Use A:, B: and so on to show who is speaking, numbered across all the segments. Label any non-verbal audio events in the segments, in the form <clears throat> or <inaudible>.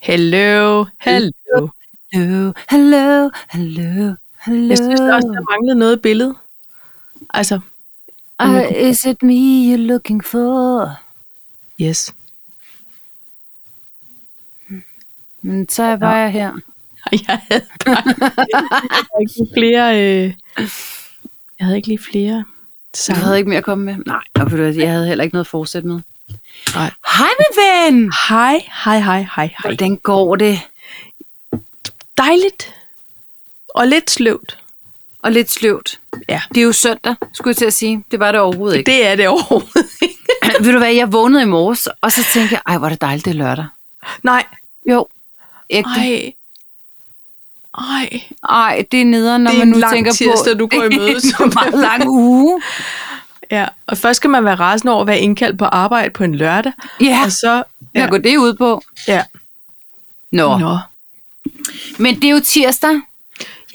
A: Hello, hello.
B: Hello, hello, hello, hello.
A: Jeg synes også, der manglede noget i billedet. Altså,
B: uh, is it me you're looking for?
A: yes.
B: Men så er jeg bare her.
A: Og jeg havde bare jeg havde ikke lige flere... Øh, jeg havde ikke lige flere
B: Så jeg
A: sange.
B: havde ikke mere at komme med. Nej, og ved du hvad, jeg havde heller ikke noget forsæt med.
A: Nej.
B: Hej, min ven!
A: Hej, hej, hej, hej, hej.
B: Hvordan går det?
A: Dejligt. Og lidt sløvt.
B: Og lidt sløvt.
A: Ja.
B: Det er jo søndag, skulle jeg til at sige. Det var det overhovedet ikke.
A: Det er det overhovedet ikke.
B: Det... <clears throat> ved du hvad, jeg vågnede i morges, og så tænkte jeg, ej, hvor er det dejligt, det er lørdag.
A: <laughs> Nej,
B: Jo. Ægte.
A: ej. Ej.
B: Ej, det er nederen, når
A: Det er
B: man
A: en
B: nu
A: lang
B: tænker
A: tirsdag,
B: på...
A: du går i møde,
B: <laughs> Det er
A: som
B: en meget lang uge.
A: Ja, og først skal man være rasende over at være indkaldt på arbejde på en lørdag.
B: Ja,
A: Og så...
B: Altså, ja. hvad går det ud på?
A: ja.
B: Nå.
A: Nå.
B: Men det er jo tirsdag,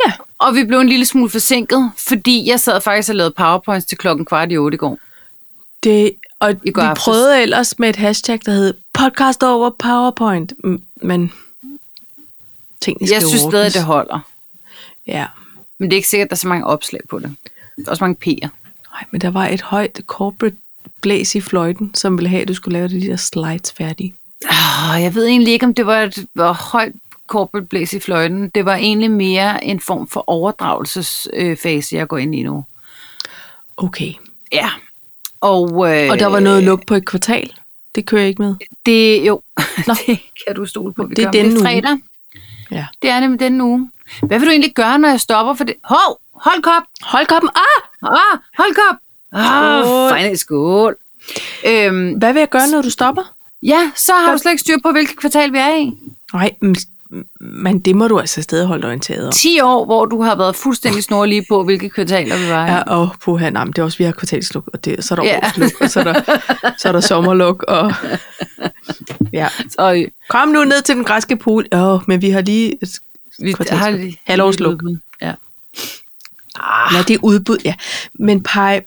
A: Ja.
B: og vi blev en lille smule forsinket, fordi jeg sad faktisk og lavede powerpoints til klokken kvart i otte i går.
A: Det, og
B: I går
A: vi
B: aftes.
A: prøvede ellers med et hashtag, der hed podcast over PowerPoint, m- men tingene skal
B: Jeg synes
A: ordnes.
B: stadig, det holder.
A: Ja,
B: Men det er ikke sikkert, at der er så mange opslag på det. Der er også mange P'er.
A: Ej, men der var et højt corporate blæs i fløjten, som ville have, at du skulle lave de der slides færdige.
B: Oh, jeg ved egentlig ikke, om det var et var højt corporate blæs i fløjten. Det var egentlig mere en form for overdragelsesfase, jeg går ind i nu.
A: Okay.
B: Ja. Og, øh,
A: Og der var noget luk på et kvartal. Det kører jeg ikke med.
B: Det, <laughs> jo,
A: Nå.
B: det kan du stole på. Vi
A: Det er
B: gør. Men
A: denne
B: det
A: uge.
B: er fredag.
A: Ja.
B: Det er nemlig denne uge. Hvad vil du egentlig gøre, når jeg stopper for det? Hov, hold kop!
A: Hold koppen. Ah!
B: Ah, hold kop! Ah,
A: Skål.
B: fejl, skål! Øhm,
A: Hvad vil jeg gøre, når du stopper?
B: ja, så har du slet ikke styr på, hvilket kvartal vi er i.
A: Nej, men- men det må du altså stadig holde orienteret om.
B: 10 år, hvor du har været fuldstændig snorlig på, hvilke kvartaler vi var i.
A: Ja, og puha, nej, men det er også, vi har kvartalsluk, og det, så er der
B: Ja.
A: ja. årsluk, og så er der, så er der sommerluk, og ja.
B: Og
A: Kom nu ned til den græske pool. Åh, oh, men vi har lige et
B: vi
A: kvartalsluk.
B: har lige...
A: Halvårsluk.
B: Ja.
A: Ja, det er udbud, ja. Men Paj,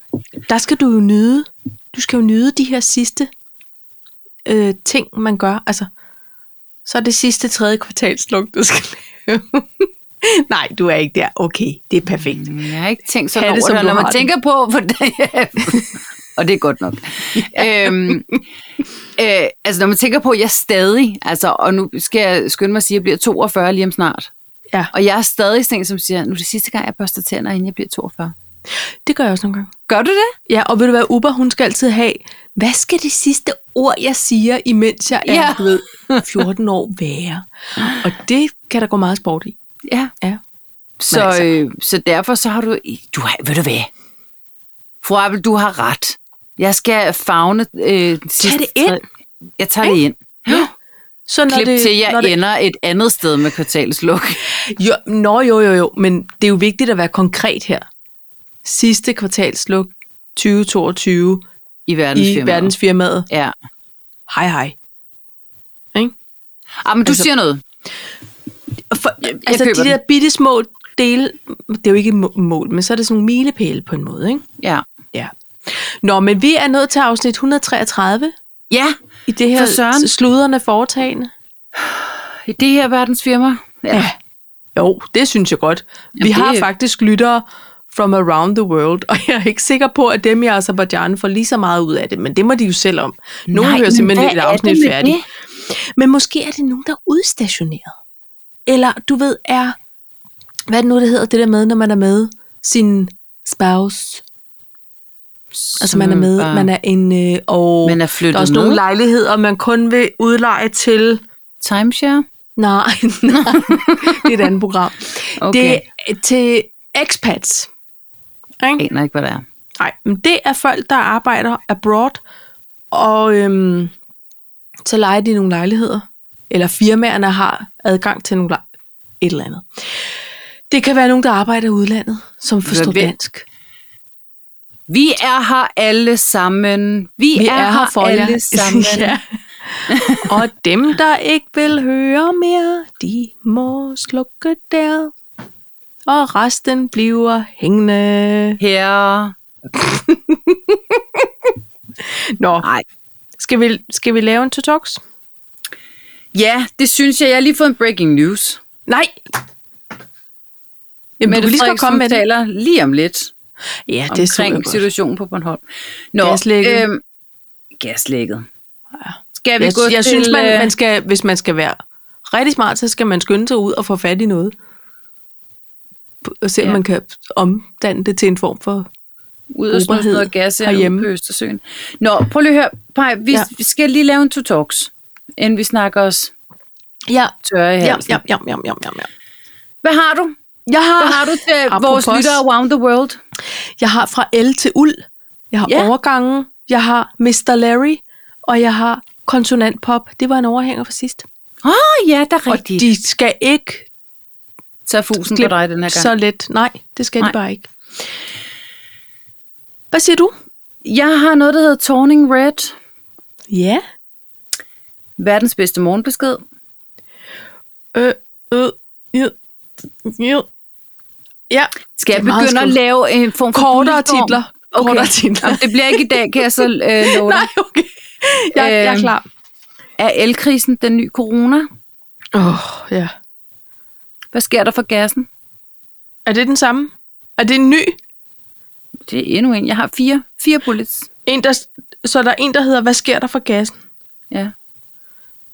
A: der skal du jo nyde, du skal jo nyde de her sidste øh, ting, man gør. Altså, så er det sidste tredje kvartalsluk, du skal lave. <laughs> Nej, du er ikke der. Okay, det er perfekt.
B: Jeg har ikke tænkt sådan
A: Ha' det,
B: over
A: som
B: det, og
A: du
B: når man
A: har det.
B: tænker på, hvordan <laughs> Og det er
A: <laughs>
B: godt nok. øhm, øh, altså, når man tænker på, at jeg stadig, altså, og nu skal jeg skynde mig at sige, at jeg bliver 42 lige om snart.
A: Ja,
B: Og jeg er stadig sådan en, som siger, nu er det sidste gang, jeg børster tænder, inden jeg bliver 42.
A: det gør jeg også nogle gange.
B: Gør du det?
A: Ja, og ved du hvad, Uber, hun skal altid have, hvad skal det sidste ord, jeg siger, imens jeg er
B: Ja.
A: ja. ved 14 år være? Og det kan der gå meget sport i.
B: Ja.
A: Ja.
B: Så,
A: Men altså-
B: øh, så derfor så har du... du har, ved du hvad? Fru Appel, du har ret. Jeg skal fagne... Øh, Tag
A: det ind.
B: Jeg tager det ind.
A: Så når
B: Klip
A: det,
B: til, jeg
A: når det,
B: ender et andet sted med kvartalsluk.
A: jo, nå, jo, jo, jo, men det er jo vigtigt at være konkret her. Sidste kvartalsluk 2022
B: I
A: i
B: verdensfirmaet.
A: verdensfirmaet.
B: Ja.
A: Hej, hej.
B: Ah, men du
A: Altså-
B: altså, siger noget.
A: For,
B: jeg
A: altså,
B: køber
A: de der
B: den.
A: bitte små dele, det er jo ikke må- mål, men så er det sådan nogle milepæle på en måde, ikke?
B: Ja.
A: Ja. Nå, men vi er nået til afsnit 133.
B: Ja,
A: I det
B: For
A: her
B: søren.
A: sludrende foretagende?
B: i det her verdensfirma. Ja.
A: Jo, det synes jeg godt. Vi
B: det-
A: har faktisk lyttere from around the world, og jeg er ikke sikker på, at dem i Azerbaijan får lige så meget ud af det, men det må de jo selv om. Nogle
B: Nej,
A: hører
B: men
A: simpelthen
B: hvad
A: et
B: er det
A: afsnit
B: med
A: færdigt. Men måske er det nogen, der er udstationeret. Eller du ved, er... Hvad er det nu, det hedder, det der med, når man er med sin spouse? Altså man er med,
B: Som
A: man er en... Øh, og
B: Man er
A: der
B: flyttet
A: er også nogle
B: med.
A: lejligheder, man kun vil udleje til...
B: Timeshare?
A: Nej, <laughs> nej. det er et andet program.
B: Okay.
A: Det er til expats.
B: Jeg
A: Ikke?
B: aner ikke, hvad det er.
A: Nej, men det er folk, der arbejder abroad, og øhm, så leger de nogle lejligheder, eller firmaerne har adgang til nogle lej- et eller andet. Det kan være nogen, der arbejder i udlandet, som forstår
B: ved-
A: dansk.
B: Vi er her alle sammen. Vi,
A: Vi er, er her for
B: alle
A: jer.
B: sammen.
A: <laughs>
B: <laughs>
A: ja. og dem, der ikke vil høre mere, de må slukke der. Og resten bliver hængende.
B: Her.
A: Nå,
B: Nej.
A: skal vi, skal vi lave en to-talks?
B: Ja, det synes jeg. Jeg har lige fået en breaking news.
A: Nej! Jamen,
B: Mette
A: du kan lige så godt
B: Frederiksen
A: komme med det.
B: taler lige om lidt
A: Ja, det er super
B: omkring
A: godt.
B: situationen på Bornholm.
A: Gaslækket.
B: Øhm, gaslægget. Skal vi
A: Jeg,
B: gå
A: jeg
B: til...
A: synes, man,
B: øh,
A: man skal, hvis man skal være rigtig smart, så skal man skynde sig ud og få fat i noget. Og se, om
B: Ja.
A: man kan omdanne det til en form for...
B: ud og snuse
A: Uberhed
B: noget gas herhjemme
A: herhjemme.
B: på Østersøen. Nå, prøv lige at høre, Paj, vi, ja.
A: Ja.
B: vi skal lige lave en to talks, inden vi snakker os
A: Ja,
B: tørre i
A: ja,
B: halsen.
A: ja, ja, ja, ja, ja.
B: Hvad har du?
A: Jeg
B: Hvad
A: har,
B: har du til
A: Apropos.
B: vores lyttere around the world?
A: jeg har fra L til Uld, jeg har
B: Ja.
A: ja. overgangen, jeg har Mr. Larry, og jeg har konsonantpop. Det var en overhænger for sidst.
B: Åh, oh, ja, der er
A: Og
B: rigtigt. De...
A: de skal ikke
B: Så er fusen på
A: glip
B: dig den her gang.
A: så let. Nej, det skal
B: Nej.
A: de bare ikke. Hvad siger du?
B: Jeg har noget, der hedder Turning Red.
A: Ja.
B: Verdens bedste morgenbesked.
A: Øh, øh, øh, øh. Ja,
B: Skal jeg
A: Det er meget
B: begynde at
A: skønt.
B: lave en form for
A: kortere
B: bulletform?
A: titler.
B: Okay.
A: Kortere titler. <laughs>
B: Jamen, det bliver ikke i dag, kan jeg så øh, love dig.
A: Nej, okay. Jeg, jeg er
B: Øhm.
A: klar.
B: Er elkrisen den nye corona?
A: Åh, oh, ja.
B: Hvad sker der for gassen?
A: Er det den samme? Er det en ny?
B: Det er endnu en. Jeg har fire, fire bullets.
A: En, der, så der er en, der hedder, hvad sker der for gassen?
B: Ja.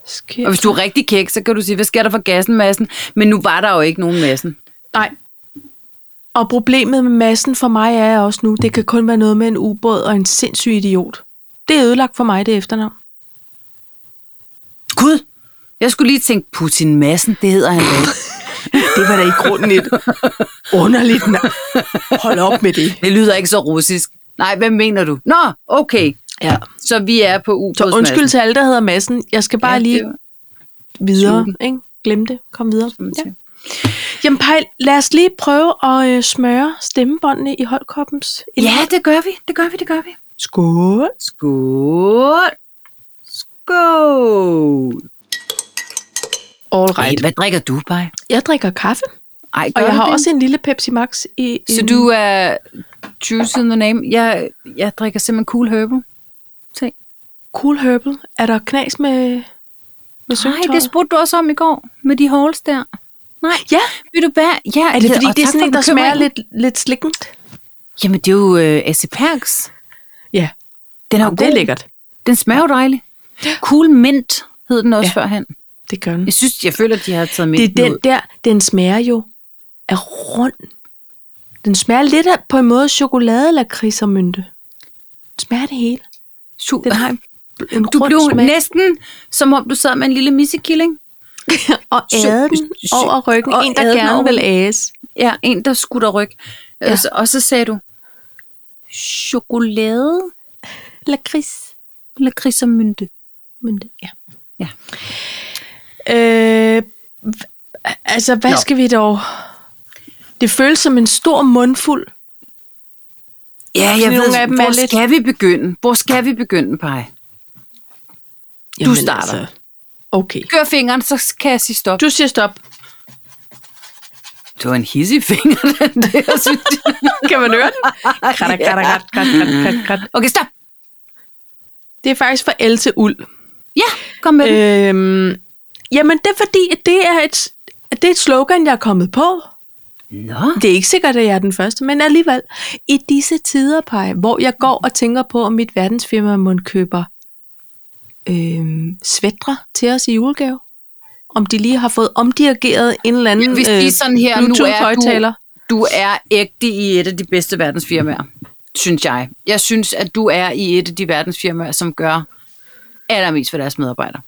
A: Sker
B: Og hvis du er rigtig kæk, så kan du sige, hvad sker der for gassen, massen? Men nu var der jo ikke nogen massen.
A: Nej. Og problemet med massen for mig er også nu, det kan kun være noget med en ubåd og en sindssyg idiot. Det er ødelagt for mig, det efternavn.
B: Gud! Jeg skulle lige tænke, Putin Massen, det hedder han da.
A: Det var da i grunden et underligt navn. Hold op med det.
B: Det lyder ikke så russisk. Nej, hvad mener du? Nå, okay.
A: Ja.
B: Så vi er på u
A: Så undskyld til alle, der hedder massen. Jeg skal bare ja, lige videre.
B: Slutten.
A: Ikke? Glem det. Kom videre. Ja.
B: Ja.
A: Jamen Pejl, lad os lige prøve at øh, smøre stemmebåndene i holdkoppens
B: ja, det gør vi. Det gør vi, det gør vi.
A: Skål.
B: Skål! Skål!
A: All
B: Ej,
A: right.
B: hvad drikker du, Paj?
A: Jeg drikker kaffe,
B: Ej,
A: og
B: gør
A: jeg
B: du
A: har
B: det? Øhm.
A: også en lille Pepsi Max i i
B: Så
A: en-
B: du er juice in the name. Jeg, jeg drikker simpelthen cool herbal.
A: Cool Herbal. Er der knas med, med
B: Nej,
A: syngtøjet?
B: det spurgte du også om i går, med de halls der. Nej,
A: Ja,
B: ved du hvad? Ja,
A: er det fordi,
B: og
A: det er
B: tak
A: sådan
B: for
A: en, der smager
B: bekymringen.
A: lidt, lidt slikkent?
B: Jamen, det er jo øh, AC Perks.
A: Ja,
B: Den er jo
A: Jamen, det er
B: god.
A: lækkert.
B: Den smager jo dejlig. Cool Mint hed den også ja.
A: Ja.
B: førhen.
A: Det gør den.
B: Jeg synes, jeg føler, de har taget mint
A: Det er den
B: ud.
A: der, den smager jo af rund. Den smager lidt af, på en måde chokolade, lakrids og mynte. Den smager det hele.
B: Super.
A: Den har en, en
B: Du
A: rund
B: blev
A: smag.
B: næsten, som om du sad med en lille missekilling.
A: og
B: Sy-
A: æde den
B: sy-
A: over ryggen.
B: og
A: en, der
B: æde den
A: gerne
B: over
A: vil ædes.
B: Ja, en, der skutter ryg. Ja.
A: Ja.
B: Og så sagde du, chokolade,
A: Lakrids.
B: lakrids og mynte.
A: Mynte. Ja.
B: Ja.
A: Øh, h- altså, hvad
B: Nå.
A: Nå. skal vi dog... Det føles som en stor mundfuld.
B: Ja, jeg
A: Fordi
B: ved,
A: nogle af dem er
B: hvor
A: lidt-
B: skal vi begynde? Hvor skal vi begynde, Paj?
A: Du
B: starter.
A: Altså. Okay.
B: Kør fingeren, så kan jeg sige stop.
A: Du siger stop. <laughs>
B: Det var en hissig finger, <laughs> den der, synes jeg.
A: Kan man høre den? <laughs> Krat, krat, krat, krat, krat, krat, krat.
B: Okay, stop.
A: Det er faktisk fra el til uld.
B: Ja, kom med øh,
A: Øhm, jamen, det er fordi, at det er, et, at det er et slogan, jeg er kommet på.
B: Øh, Nå.
A: Det er ikke sikkert, at jeg er den første, men alligevel. I disse tider, Paj, hvor jeg går og tænker på, om mit verdensfirma må køber øhm, svætre til os i julegave. Om de lige har fået omdirigeret en eller anden øh,
B: Hvis de er sådan her, nu er
A: Bluetooth-højtaler.
B: du, du er ægte i et af de bedste verdensfirmaer, synes jeg. Jeg synes, at du er i et af de verdensfirmaer, som gør allermest for deres medarbejdere.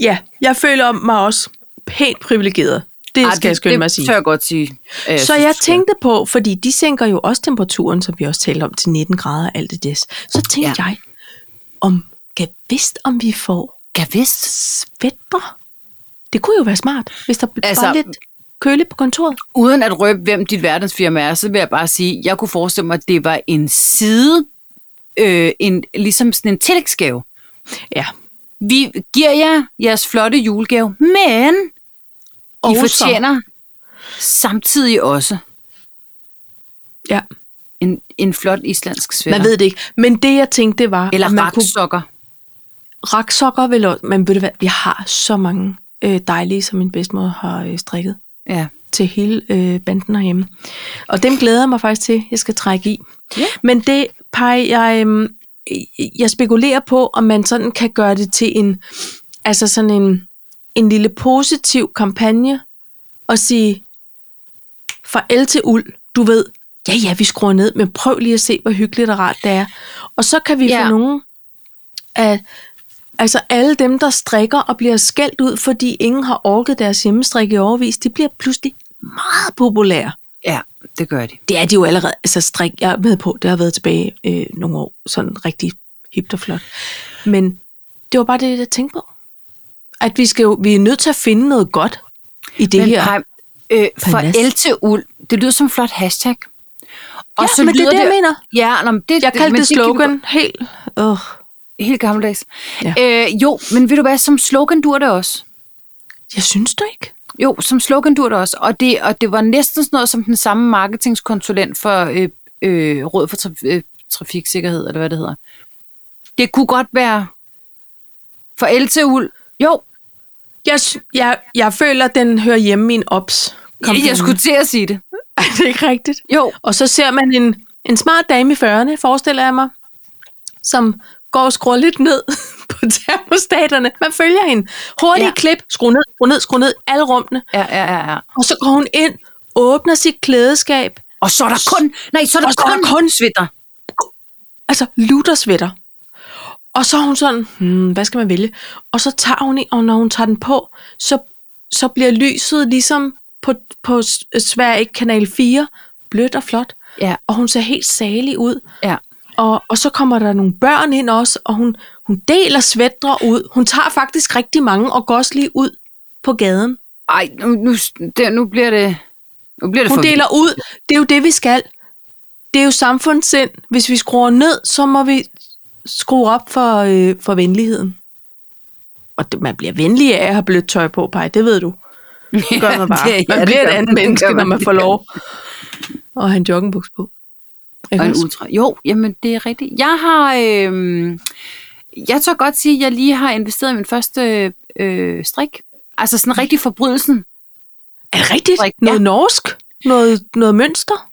A: Ja, jeg føler mig også pænt privilegeret. Det
B: Ej,
A: Ej, skal jeg skynde mig at sige.
B: Det tør jeg godt sige. øh,
A: Så
B: synes,
A: jeg
B: du skal.
A: tænkte på, fordi de sænker jo også temperaturen, som vi også talte om, til 19 grader og alt det des. Så tænkte
B: Ja.
A: ja. jeg, om kan vidst, om vi får
B: Ja, vidst.
A: svætter. Det kunne jo være smart, hvis der altså,
B: Altså-
A: var lidt køligt på kontoret.
B: Uden at røbe, hvem dit verdensfirma er, så vil jeg bare sige, jeg kunne forestille mig, at det var en side, øh, en, ligesom sådan en tillægsgave.
A: Ja.
B: Vi giver jer jeres flotte julegave, men I
A: så-
B: fortjener samtidig også
A: Ja,
B: en, en flot islandsk sweater.
A: man ved det ikke. Men det, jeg tænkte, det var,
B: Eller
A: at man
B: raksokker.
A: kunne raksokker vel også. Men ved du hvad, vi har så mange øh, dejlige, som min bedstemor har øh, strikket
B: Ja.
A: til hele øh, banden herhjemme. Og dem glæder jeg mig faktisk til, jeg skal trække i.
B: Ja.
A: Men det, Paj, jeg, øhm, jeg spekulerer på, om man sådan kan gøre det til en, altså sådan en, en lille positiv kampagne, og sige, fra el til uld, du ved, ja ja, vi skruer ned, men prøv lige at se, hvor hyggeligt og rart det er. Og så kan vi ja.
B: Ja.
A: få nogen af, altså alle dem, der strikker og bliver skældt ud, fordi ingen har orket deres hjemmestrik i overvis, de bliver pludselig meget populære.
B: Ja, det gør de.
A: Det er de jo allerede, altså strik, jeg er med på, det har været tilbage øh, nogle år, sådan rigtig hipt og flot. Men det var bare det, jeg tænkte på. At vi, skal jo, vi er nødt til at finde noget godt i det
B: Men
A: her.
B: Paj, øh, for
A: Parnas.
B: el til uld, det lyder som en flot hashtag. Og
A: Ja, men det er det, jeg mener.
B: Ja, nå, men det,
A: jeg kaldte
B: men
A: det
B: kan vi
A: slogan helt... Øh.
B: godt- Helt gammeldags.
A: Ja.
B: Ja. Øh, jo, men ved du hvad, som slogan dur det også.
A: Jeg synes det ikke.
B: Jo, som slogan dur det også. Og det, og det var næsten sådan noget som den samme marketingskonsulent for øh, øh, Råd for Traf- øh, Trafiksikkerhed, eller hvad det hedder. Det kunne godt være for el til uld. Jo,
A: Jeg, sy- jeg, jeg føler, den hører hjemme i en ops.
B: jeg, jeg skulle til at sige det.
A: <laughs> Ej, det er ikke rigtigt.
B: Jo,
A: Og så ser man en, en smart dame i 40'erne, forestiller jeg mig, som går og skruer lidt ned <laughs> på termostaterne. Man følger hende. Hurtige ja.
B: Ja.
A: klip. Skru ned, skru ned, skru ned. Alle rummene.
B: ja, ja, ja. ja.
A: Og så går hun ind, åbner sit klædeskab.
B: Og så er der kun, nej, så er der,
A: Og så er
B: kun,
A: der
B: kun svitter.
A: Altså, luthersvætter. Og så er hun sådan, hmm, hvad skal man vælge? Og så tager hun en, og når hun tager den på, så, så bliver lyset ligesom på, på S- Sverige Kanal 4 blødt og flot.
B: Ja,
A: Og hun ser helt salig ud.
B: ja.
A: Og, og så kommer der nogle børn ind også, og hun, hun deler svætter ud. Hun tager faktisk rigtig mange og går også lige ud på gaden.
B: Ej, nu, nu, det, nu bliver det, nu bliver det
A: Hun
B: for
A: deler ud. Det er jo det, vi skal. Det er jo samfundssind. Hvis vi skruer ned, så må vi skrue op for, øh, for venligheden. Og det, man bliver venlig af at have blødt tøj på, Paj. Det
B: <laughs>
A: ved du. Det gør man bare.
B: Ja, det- ja,
A: Man
B: det
A: bliver et
B: gør
A: andet
B: man. Det
A: menneske,
B: gør
A: når
B: man.
A: man får lov at have en joggingbuks på. Ikke
B: Og en
A: også?
B: ultra. Jo, jamen det er rigtigt. Jeg har, øh, jeg tør godt sige, at jeg lige har investeret i min første øh, strik. Altså sådan rigtig forbrydelsen.
A: Er det rigtigt?
B: Ulrik, ja.
A: Noget norsk? Noget, noget mønster?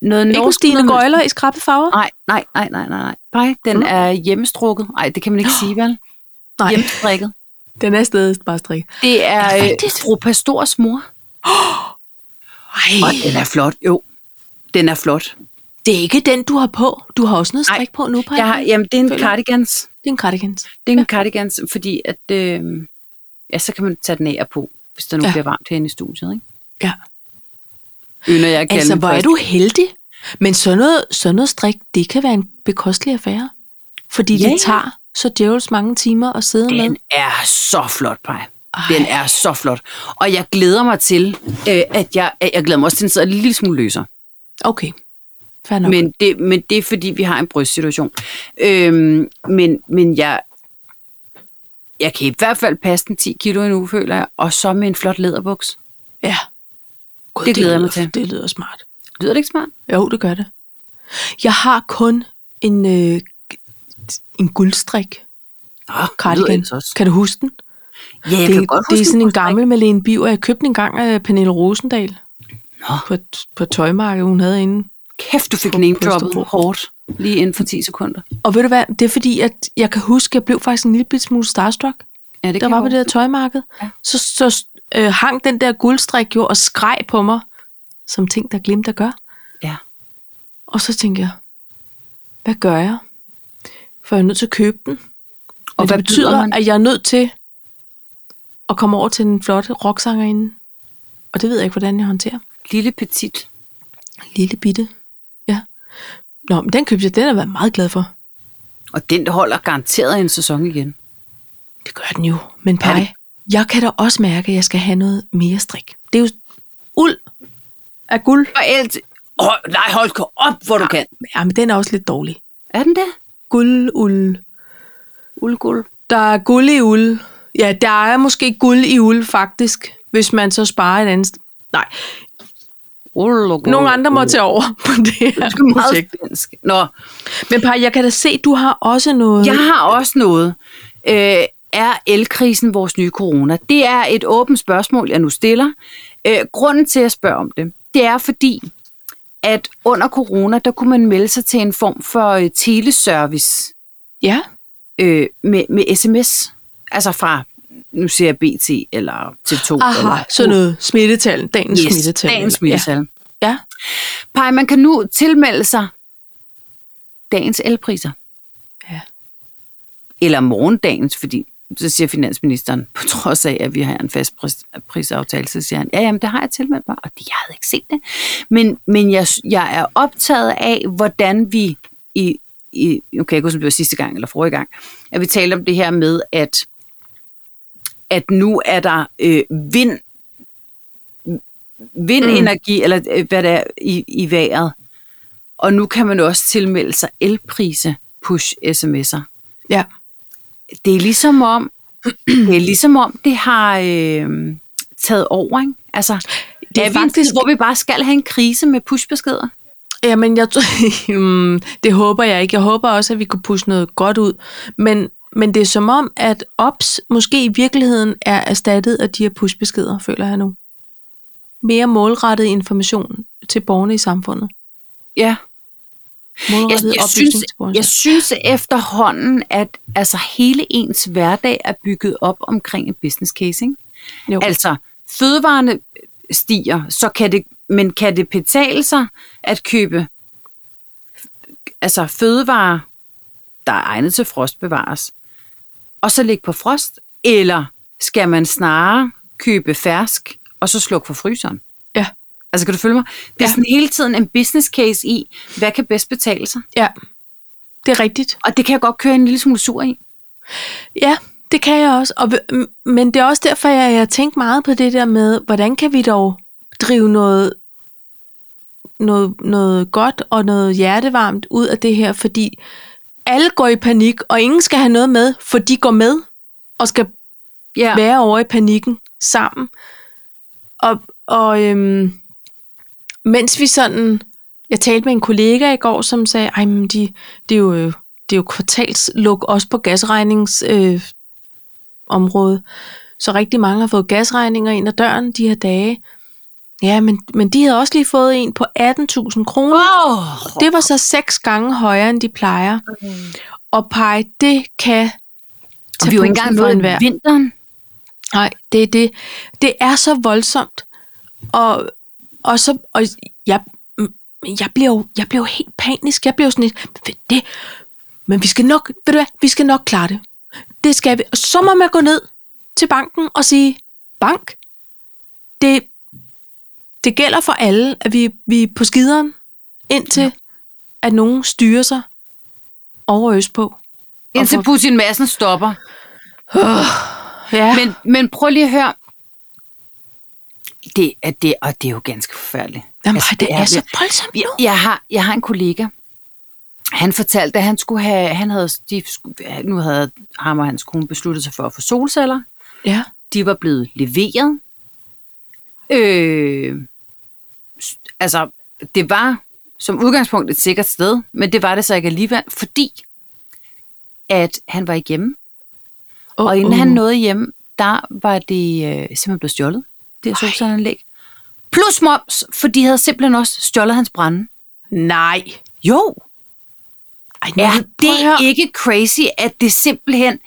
B: Noget Ah,
A: Ikke en
B: norsk,
A: Stine
B: noget-
A: Gøjler i skrappe farver?
B: Nej, nej, nej, nej, nej. Nej, den
A: Mm.
B: er hjemmestrukket. Nej, det kan man ikke sige, vel?
A: Nej,
B: Hjemmestrikket.
A: den er stadig bare strik.
B: Det er,
A: Er det
B: er
A: rigtigt?
B: fru Pastors mor. Og
A: Ej,
B: den er flot, jo. Den er flot.
A: det er ikke den, du har på. Du har også noget
B: Nej,
A: strik på nu, Paj.
B: Jeg har, jamen, det er en
A: Føler-
B: cardigans.
A: Det er en cardigans.
B: Det er en cardigans, fordi at, øh, ja, så kan man tage den af og på, hvis der nu
A: Ja.
B: ja. bliver varmt herinde i studiet. Ikke?
A: Ja.
B: Ynder jeg at kalde
A: Altså,
B: den
A: hvor
B: for-
A: er du heldig. Men sådan noget, sådan noget strik, det kan være en bekostelig affære. Fordi
B: Ja,
A: det
B: ja.
A: tager så djævels mange timer at sidde med.
B: Den er så flot, Paj.
A: Ej.
B: Den er så flot. Og jeg glæder mig til, øh, at jeg, at jeg glæder mig også til, at den sidder en lille smule løser.
A: Okay, fair nok. Men,
B: Men det, men det er, fordi vi har en brystsituation. Øhm, men, men jeg, jeg kan i hvert fald passe den 10 kilo endnu, føler jeg. Og så med en flot læderbuks.
A: ja. God,
B: Det glæder jeg mig
A: lyder-
B: til.
A: Det lyder smart.
B: Lyder det ikke smart?
A: Jo, det gør det. Jeg har kun en, øh, en guldstrik
B: Nå, det lyder
A: cardigan.
B: ellers også.
A: Kan du huske den?
B: Ja, jeg
A: det,
B: kan godt
A: det er
B: huske
A: sådan en
B: bryststrik.
A: gammel Malene Biver. Jeg købte den en gang af Pernille Rosendal.
B: Nå.
A: På et, på et tøjmarked, hun havde inde.
B: Kæft, du fik
A: På
B: name
A: Østerbro.
B: droppet hårdt lige inden for 10 sekunder.
A: Og ved du hvad, det er fordi, at jeg kan huske, at jeg blev faktisk en lille bitte smule starstruck,
B: Ja, det
A: der
B: kan
A: var
B: jeg
A: på det
B: godt.
A: her tøjmarked.
B: Ja.
A: Så, så øh, hang den der guldstrik jo og skreg på mig, som ting, der glimter gør.
B: Ja.
A: Og så tænkte jeg, hvad gør jeg? For jeg er nødt til at købe den. Og
B: hvad
A: det betyder,
B: byder man?
A: at jeg er nødt til at komme over til den flotte rocksangerinde. Og det ved jeg ikke, hvordan jeg håndterer.
B: Lille petit.
A: Lille bitte. Ja. Nå, men den købte jeg. Den har jeg været meget glad for.
B: Og den holder garanteret en sæson igen.
A: Det gør den jo. Men
B: Ja,
A: Paj,
B: det-
A: jeg kan da også mærke, at jeg skal have noget mere strik. Det er jo uld af guld.
B: Og alt... Hold, nej, hold gå op, hvor du kan.
A: Ja, men den er også lidt dårlig.
B: Er den det?
A: Guld, uld.
B: Uldguld.
A: Der er guld i uld. Ja, der er måske guld i uld, faktisk, hvis man så sparer et andet sted. Nej,
B: Uldguld.
A: nogle andre må tage over på det her
B: Det er meget
A: projekt.
B: svensk. Nå,
A: Men Paj, jeg kan da se, du har også noget...
B: jeg har også noget. Øh, er elkrisen vores nye corona? Det er et åbent spørgsmål, jeg nu stiller. Øh, grunden til, at jeg spørger om det, det er fordi, at under corona, der kunne man melde sig til en form for øh, teleservice
A: Ja.
B: øh, med, med sms. Altså fra, nu siger jeg BT eller TV2.
A: Aha,
B: eller,
A: sådan noget smittetal, dagens
B: yes,
A: smittetal.
B: Dagens
A: eller- ja.
B: smittetal. Ja.
A: ja.
B: Pej, man kan nu tilmelde sig dagens elpriser.
A: Ja.
B: Eller morgendagens, fordi så siger finansministeren, på trods af, at vi har en fast pris, prisaftale, så siger han, ja, jamen, det har jeg tilmeldt mig, og det, jeg havde ikke set det. Men, men jeg, jeg er optaget af, hvordan vi i, i, nu kan jeg ikke huske, om det var sidste gang eller forrige gang, at vi talte om det her med, at, at nu er der øh, vind, vindenergi, mm. eller øh, hvad det er, i, i vejret. Og nu kan man også tilmelde sig elprise push sms'er.
A: ja.
B: Det er ligesom om, <clears throat> det er ligesom om, det har øh, taget over, ikke? Altså, det er, er faktisk...
A: faktisk-
B: Tid, hvor vi bare skal have en krise med pushbeskeder.
A: Jamen, jeg tror, <laughs> Hmm, det håber jeg ikke. Jeg håber også, at vi kunne pusse noget godt ud. Men, men det er som om, at ops måske i virkeligheden er erstattet af de her pushbeskeder, føler jeg nu. Mere målrettet information til borgerne i samfundet.
B: Ja. Jeg,
A: Målrettet
B: jeg,
A: oplysning
B: synes,
A: til borgerne.
B: jeg synes efterhånden, at altså, hele ens hverdag er bygget op omkring en business case, ikke?
A: jo.
B: Altså, fødevarene stiger, så kan det, men kan det betale sig at købe altså fødevarer, der er egnet til frostbevares, og så ligge på frost? Eller skal man snarere købe fersk, og så slukke for fryseren?
A: Ja.
B: Altså, kan du følge mig? Det er
A: Ja.
B: sådan hele tiden en business case i, hvad kan bedst betale sig?
A: ja, det er rigtigt.
B: Og det kan jeg godt køre en lille smule sur i.
A: Ja, det kan jeg også. Og, v- m- men det er også derfor, jeg, jeg har tænkt meget på det der med, hvordan kan vi dog drive noget, noget, noget godt og noget hjertevarmt ud af det her, fordi alle går i panik, og ingen skal have noget med, for de går med og skal
B: Ja.
A: være over i panikken sammen. Og, og øhm, mens vi sådan... Jeg talte med en kollega i går, som sagde, at de, det, er jo, øh, det er jo kvartalsluk også på gasregningsområdet. Øh, området." så rigtig mange har fået gasregninger ind ad døren de her dage. Ja, men, men de havde også lige fået en på 18.000 kroner.
B: Wow.
A: Det var så seks gange højere, end de plejer. Og pege, det kan
B: Mm. Og vi er jo ikke engang
A: for
B: nået
A: enhver.
B: vinteren.
A: Nej, det er det. Det er så voldsomt. Og, og så, og jeg, mm, jeg bliver jo, jeg bliver jo helt panisk. Jeg bliver jo sådan lidt, "Ved det, men vi skal nok, ved du hvad, vi skal nok klare det. Det skal vi. Og så må man gå ned til banken og sige, bank, det, det gælder for alle, at vi, vi er på skideren, indtil ja. at nogen styrer sig over østpå.
B: Indtil
A: Og
B: Putin Madsen stopper.
A: Ja. Men,
B: <laughs> Men, men prøv lige at høre. Det er det, og det er jo ganske forfærdeligt. Altså,
A: Jamen, Altså, det, er, så
B: virkelig-
A: voldsomt nu.
B: Jeg har, jeg har en kollega. Han fortalte, at han skulle have, han havde, de, skulle- nu havde ham og hans kone besluttet sig for at få solceller.
A: Ja.
B: De var blevet leveret. Øh, s- altså, det var som udgangspunkt et sikkert sted, men det var det så ikke alligevel, fordi at han var ikke hjemme.
A: Oh,
B: Og inden han nåede hjem, der var det øh, simpelthen blevet stjålet, det her solcelleranlæg. Plus moms, for de havde simpelthen også stjålet hans brænde.
A: Nej.
B: Jo,
A: Ej,
B: er
A: prøv at høre.
B: det ikke crazy, at det simpelthen,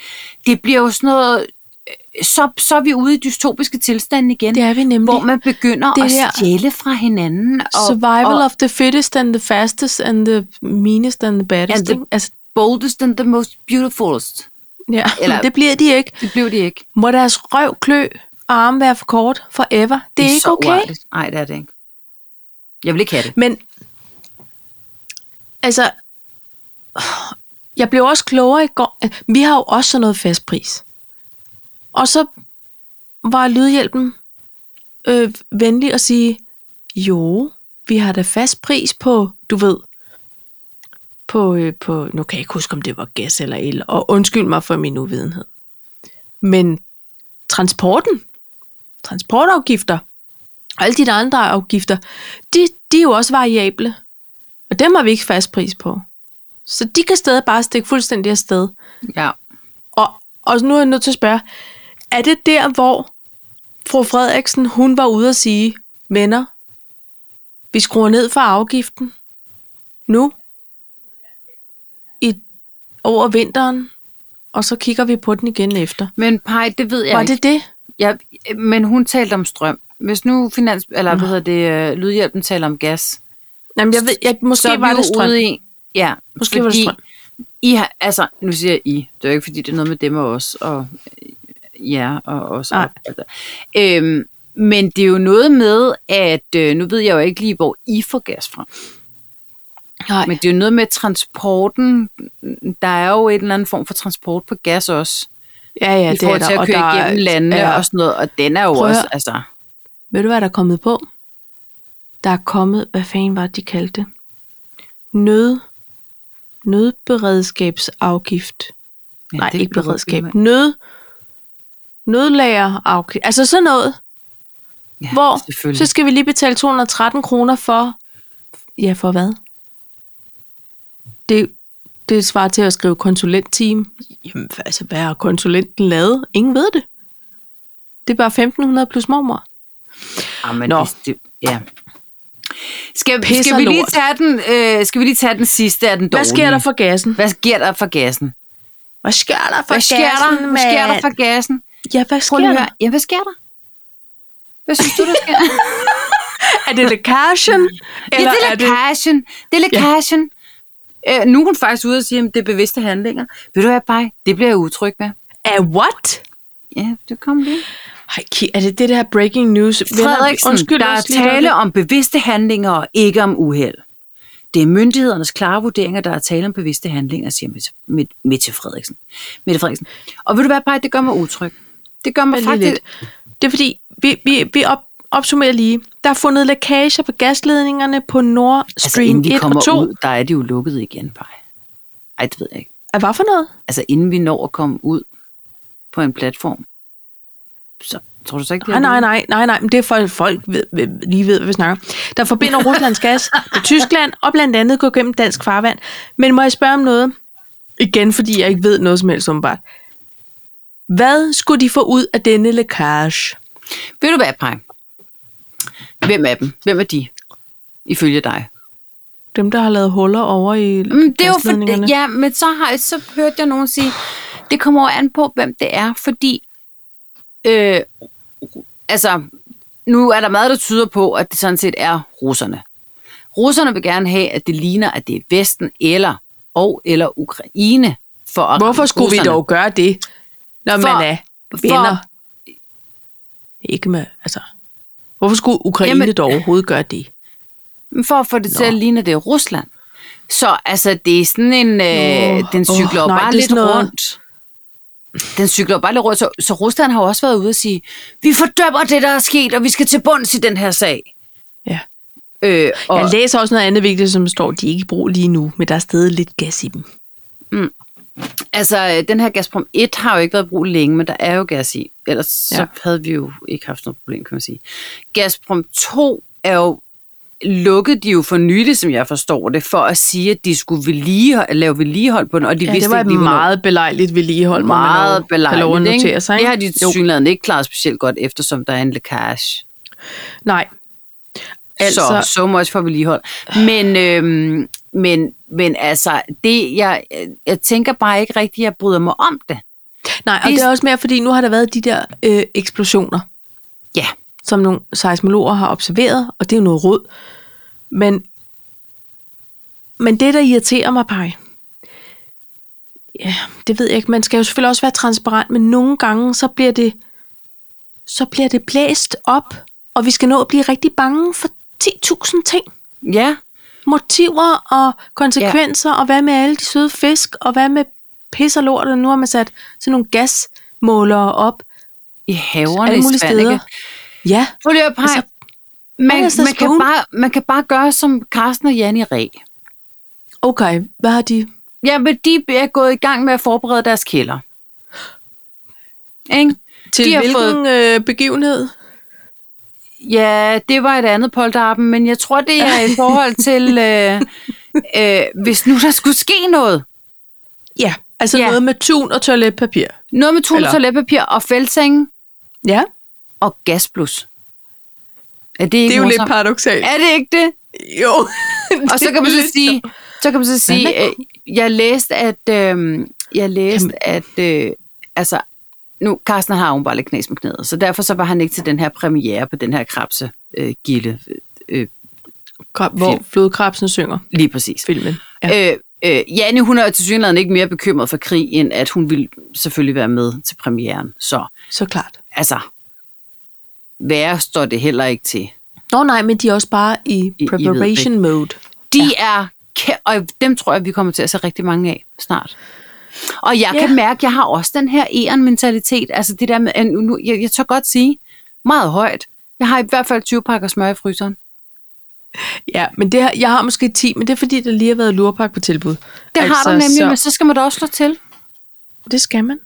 B: det bliver jo sådan noget, øh, så, så er vi ude i dystopiske tilstande igen,
A: Det er vi nemlig.
B: hvor man begynder
A: Det
B: det at
A: der-
B: stjæle fra hinanden. Og,
A: Survival
B: og
A: of the fittest and the fastest and the meanest and the baddest.
B: And the-
A: ikke? altså,
B: boldest and the most beautifulest.
A: ja,
B: eller-
A: <laughs> det bliver de ikke.
B: Det blev de ikke.
A: Må deres røv, klø og arme være for kort forever. Det, det er ikke
B: så
A: okay.
B: uartigt. Nej, det er det ikke. Jeg vil ikke have det.
A: Men altså, jeg blev også klogere i går. Vi har jo også sådan noget fast pris. Og så var lydhjælpen øh, venlig at sige, jo, vi har da fast pris på, du ved, på, øh, på, nu kan jeg ikke huske, om det var gas eller el, og undskyld mig for min uvidenhed. Men transporten, transportafgifter, og alle de der andre afgifter, de, de er jo også variable. Og dem har vi ikke fast pris på. Så de kan stadig bare stikke fuldstændig afsted.
B: Ja.
A: Og Og nu er jeg nødt til at spørge, er det der, hvor fru Frederiksen, hun var ude at sige, venner, vi skruer ned for afgiften nu i, over vinteren, og så kigger vi på den igen efter.
B: Men Paj, det ved jeg
A: Var
B: ikke.
A: det det?
B: Ja, men hun talte om strøm. Hvis nu finans, eller hvad hedder det, øh, Lydhjælpen taler om gas,
A: Jamen, jeg ved, jeg, måske
B: så er vi
A: var
B: jo
A: det strøm.
B: ude i... Ja,
A: Måske var det strøm.
B: I har, altså, nu siger jeg I. Det er jo ikke, fordi det er noget med dem og os, og ja, og os.
A: Nej.
B: Og, altså. øhm, men det er jo noget med, at øh, nu ved jeg jo ikke lige, hvor I får gas fra.
A: Nej.
B: Men det er jo noget med transporten. Der er jo en eller anden form for transport på gas også.
A: ja, ja,
B: Ja, I
A: det er
B: forhold til
A: der.
B: at
A: og
B: køre
A: der er-
B: igennem landene
A: ja.
B: ja. og sådan noget. Og den er jo
A: Prøv at
B: også,
A: høre.
B: altså...
A: Ved du, hvad der er kommet på? Der er kommet, hvad fanden var det, de kaldte det? Nød, nødberedskabsafgift. Ja, Nej,
B: det
A: ikke
B: kan du godt
A: beredskab.
B: bilde mig
A: Nød, nødlagerafgift. Altså sådan noget,
B: ind. Ja,
A: hvor så
B: Selvfølgelig.
A: skal vi lige betale 213 kroner for... Ja, for hvad? Det, det svarer til at skrive konsulentteam. Jamen, altså, hvad har konsulenten lavet? Ingen ved det. Det er bare 1.500 plus mormor.
B: Ah, men
A: Nå.
B: det, det, ja. Skal,
A: Pis
B: skal,
A: og
B: vi lige
A: lort.
B: tage den, øh, skal vi lige tage den sidste af den dårlige?
A: Hvad sker der for gassen?
B: Hvad sker der for gassen?
A: Hvad sker der for
B: Hvad sker der?
A: gassen,
B: Hvad sker der for gassen?
A: Ja, hvad
B: Prøv
A: sker
B: lige at
A: der?
B: høre. Ja, hvad sker der? Hvad synes du, der <laughs> sker?
A: Er det <laughs> lækagen?
B: ja, det er lækagen. Det er lækagen. Ja. Øh, nu er hun faktisk ude og sige, at det er bevidste handlinger. Ved du hvad, Baj? Det bliver jeg utryg med.
A: Er what?
B: Ja, det kommer lige.
A: Ej, Ki- er det det der breaking news? Venner,
B: Frederiksen,
A: undskyld,
B: der er
A: os lige et
B: tale om bevidste handlinger og ikke om uheld. Det er myndighedernes klare vurderinger, der er tale om bevidste handlinger, siger Mette- Mette- Mette Frederiksen. Mette Frederiksen. Og vil du være bare, det gør mig utryg. Det gør mig
A: øjeblik. Vent lige
B: faktisk...
A: lidt. Det er fordi, vi, vi, vi op, opsummerer lige. Der er fundet lækager på gasledningerne på Nord Stream
B: Altså, inden vi
A: 1
B: kommer
A: Altså, og 2.
B: ud, der er de jo lukket igen, bare. Ej, det ved jeg ikke.
A: Er hvad for noget?
B: Altså, inden vi når at komme ud på en platform, så tror du så ikke, det
A: Nej, nej, nej, nej, nej, men det er for, at folk ved, ved, lige ved, hvad vi snakker om. Der forbinder
B: <laughs>
A: Ruslands gas med Tyskland, og blandt andet går gennem dansk farvand. Men må jeg spørge om noget? Igen, fordi jeg ikke ved noget som helst umiddelbart. Hvad skulle de få ud af denne lækage?
B: Ved du hvad, Paj? Hvem er dem? Hvem er de? Ifølge dig.
A: Dem, der har lavet huller over i
B: Men Mm, det er jo for,
A: gasledningerne?
B: ja, men så, har, så hørte jeg nogen sige, det kommer jo an på, hvem det er, fordi øh, altså, nu er der meget, der tyder på, at det sådan set er russerne. Russerne vil gerne have, at det ligner, at det er Vesten eller og eller Ukraine. For at
A: Hvorfor skulle vi
B: russerne.
A: dog gøre det, når
B: For-
A: man er venner? Ikke med, altså... Hvorfor skulle Ukraine
B: Jamen-
A: Jamen, dog overhovedet gøre det?
B: Men For at få det Nå. til
A: Nå.
B: at ligne, at det er Rusland. Så altså, det er sådan en... Øh,
A: Åh,
B: den cykler
A: åh, nej,
B: oh, bare
A: det er
B: lidt
A: sådan noget-
B: rundt. Den cykler jo bare lidt rundt. Så, så Rusland har jo også været ude og sige, vi fordømmer det, der er sket, og vi skal til bunds i den her sag.
A: Ja.
B: Øh, og,
A: Jeg læser også noget andet vigtigt, som står, de er ikke i brug lige nu, men der er stadig lidt gas i dem.
B: Altså, øh, den her Gazprom 1 har jo ikke været brugt længe, men der er jo gas i. Ellers ja. så
A: Ja.
B: havde vi jo ikke haft noget problem, kan man sige. Gazprom 2 er jo lukket de jo for nylig, som jeg forstår det, for at sige, at de skulle vedligehold, lave vedligehold på den, og de
A: Ja,
B: vidste
A: det var
B: ikke
A: et
B: lige, hvornår.
A: meget belejligt vedligehold, må man
B: meget
A: jo have lov at
B: belejligt.
A: notere sig.
B: Det
A: Ikke?
B: har de
A: jo.
B: synligheden ikke klaret specielt godt, eftersom der er en lækage.
A: Nej.
B: Altså, så,
A: Altså,
B: so much for vedligehold. Men, øhm, men, men altså, det, jeg, jeg tænker bare ikke rigtigt, jeg bryder mig om det.
A: nej, og
B: det-
A: det er også mere, fordi nu har der været de der øh, eksplosioner,
B: Ja,
A: som nogle seismologer har observeret, og det er jo noget råd. Men, men det, der irriterer mig, Paj, ja, det ved jeg ikke. Man skal jo selvfølgelig også være transparent, men nogle gange, så bliver det, så bliver det blæst op, og vi skal nå at blive rigtig bange for 10.000 ting.
B: ja.
A: motiver og konsekvenser, ja. og hvad med alle de søde fisk, og hvad med pis og lort, og nu har man sat sådan nogle gasmålere op
B: I haverne
A: alle
B: i
A: mulige
B: Spanien.
A: steder. Ja,
B: Prøv lige at pege.
A: Altså,
B: Altså, man,
A: Anders, der
B: man, kan
A: spoon.
B: bare, man kan bare gøre som Carsten og Janni Reh.
A: okay, hvad har de?
B: Ja, men de er gået i gang med at forberede deres kælder. Ikke?
A: Til
B: de har
A: hvilken
B: fået
A: øh, begivenhed?
B: Ja, det var et andet polterappen, men jeg tror, det er
A: <laughs>
B: i forhold til, øh, øh, hvis nu der skulle ske noget.
A: Ja, Altså
B: Ja.
A: ja. noget med tun og toiletpapir.
B: Noget med tun,
A: Eller-
B: toiletpapir og fældsenge
A: Ja,
B: og gasplus. Er det ikke
A: det er jo lidt
B: morsomt?
A: paradoxalt.
B: Er det ikke det?
A: Jo.
B: <laughs> Og så kan man så sige, så kan man så sige, øh, jeg læste, at, øh, jeg læste, at, øh, altså, nu, Carsten har jo bare lidt knas med knæet, så derfor så var han ikke til den her premiere på den her krabse øh, gilde, øh,
A: Kom, hvor flodkrabsen synger
B: lige præcis.
A: filmen. Ja.
B: Øh, øh, Janne, hun er til synligheden ikke mere bekymret for krig, end at hun ville selvfølgelig være med til premieren. Så
A: Så klart.
B: altså, værre står det heller ikke til.
A: Nå nej, men de er også bare i
B: I- I
A: preparation mode.
B: De ja. er, kæ- og dem tror jeg, vi kommer til at se rigtig mange af snart. Og jeg
A: Ja.
B: kan mærke, at jeg har også den her eren-mentalitet. Altså det der med, at nu, jeg, jeg tør godt sige, meget højt. Jeg har i hvert fald 20 pakker smør i fryseren.
A: Ja, men det, her- jeg har måske 10, men det er fordi, der lige har været lurpak på tilbud.
B: Det altså, har du nemlig, så... men så skal man da også slå til.
A: Det skal man.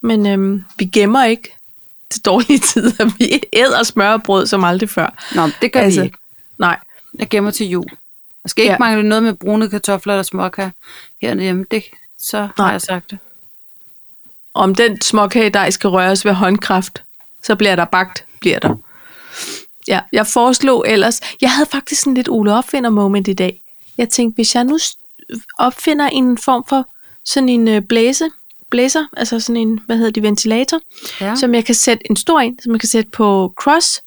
A: Men øhm, vi gemmer ikke til dårlige <laughs> tider. Vi æder smør og brød som aldrig før.
B: Nå, det gør altså. vi ikke.
A: Nej,
B: Jeg gemmer til jul. Jeg skal ikke ja.
A: Ja.
B: mangle noget med brune kartofler eller småkager hernede. Det, så Nej. har
A: Nej.
B: jeg sagt det.
A: om den småkagedej skal røres ved håndkraft, så bliver der bagt, bliver der. Ja, jeg foreslog ellers, jeg havde faktisk en lidt Ole Opfinder moment i dag. Jeg tænkte, hvis jeg nu s- opfinder en form for sådan en øh, blæse, blæser, altså sådan en, hvad hedder de, ventilator,
B: Ja.
A: som jeg kan sætte en stor en, som jeg kan sætte på cross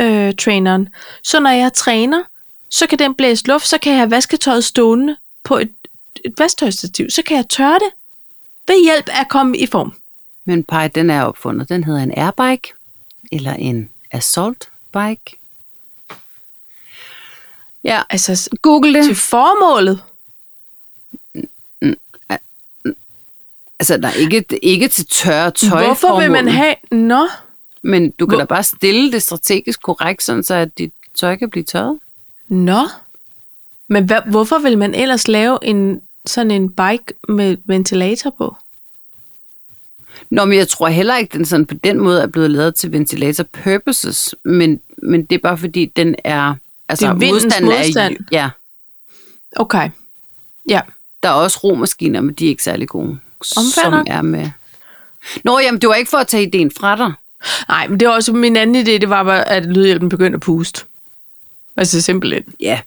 A: øh, traineren. Så når jeg træner, så kan den blæse luft, så kan jeg have vasketøjet stående på et, et vasketøjstativ, så kan jeg tørre det ved hjælp af at komme i form.
B: Men Paj, den er opfundet. Den hedder en airbike, eller en assault bike. Ja,
A: Altså s-
B: google det.
A: til formålet.
B: Altså, der er ikke, ikke til tørre tøj.
A: Hvorfor vil man have... Nå,
B: Men du kan
A: Hvor-
B: da bare stille det strategisk korrekt, sådan så at dit tøj kan blive tørret.
A: nå. Men hvad, hvorfor vil man ellers lave en sådan en bike med ventilator på?
B: Nå, men jeg tror heller ikke, den sådan på den måde er blevet lavet til ventilator purposes, men, men det er bare fordi, den er... Altså,
A: Det er vindens
B: modstanden
A: modstand.
B: Er, ja,
A: Okay. Ja,
B: der er også romaskiner, men de er ikke særlig gode.
A: Omfatter.
B: Som er med. Nå, jamen, det var ikke for at tage ideen fra dig.
A: nej, men det var også min anden idé, det var, bare, at lydhjælpen begyndte at puste. Altså simpelthen.
B: Ja.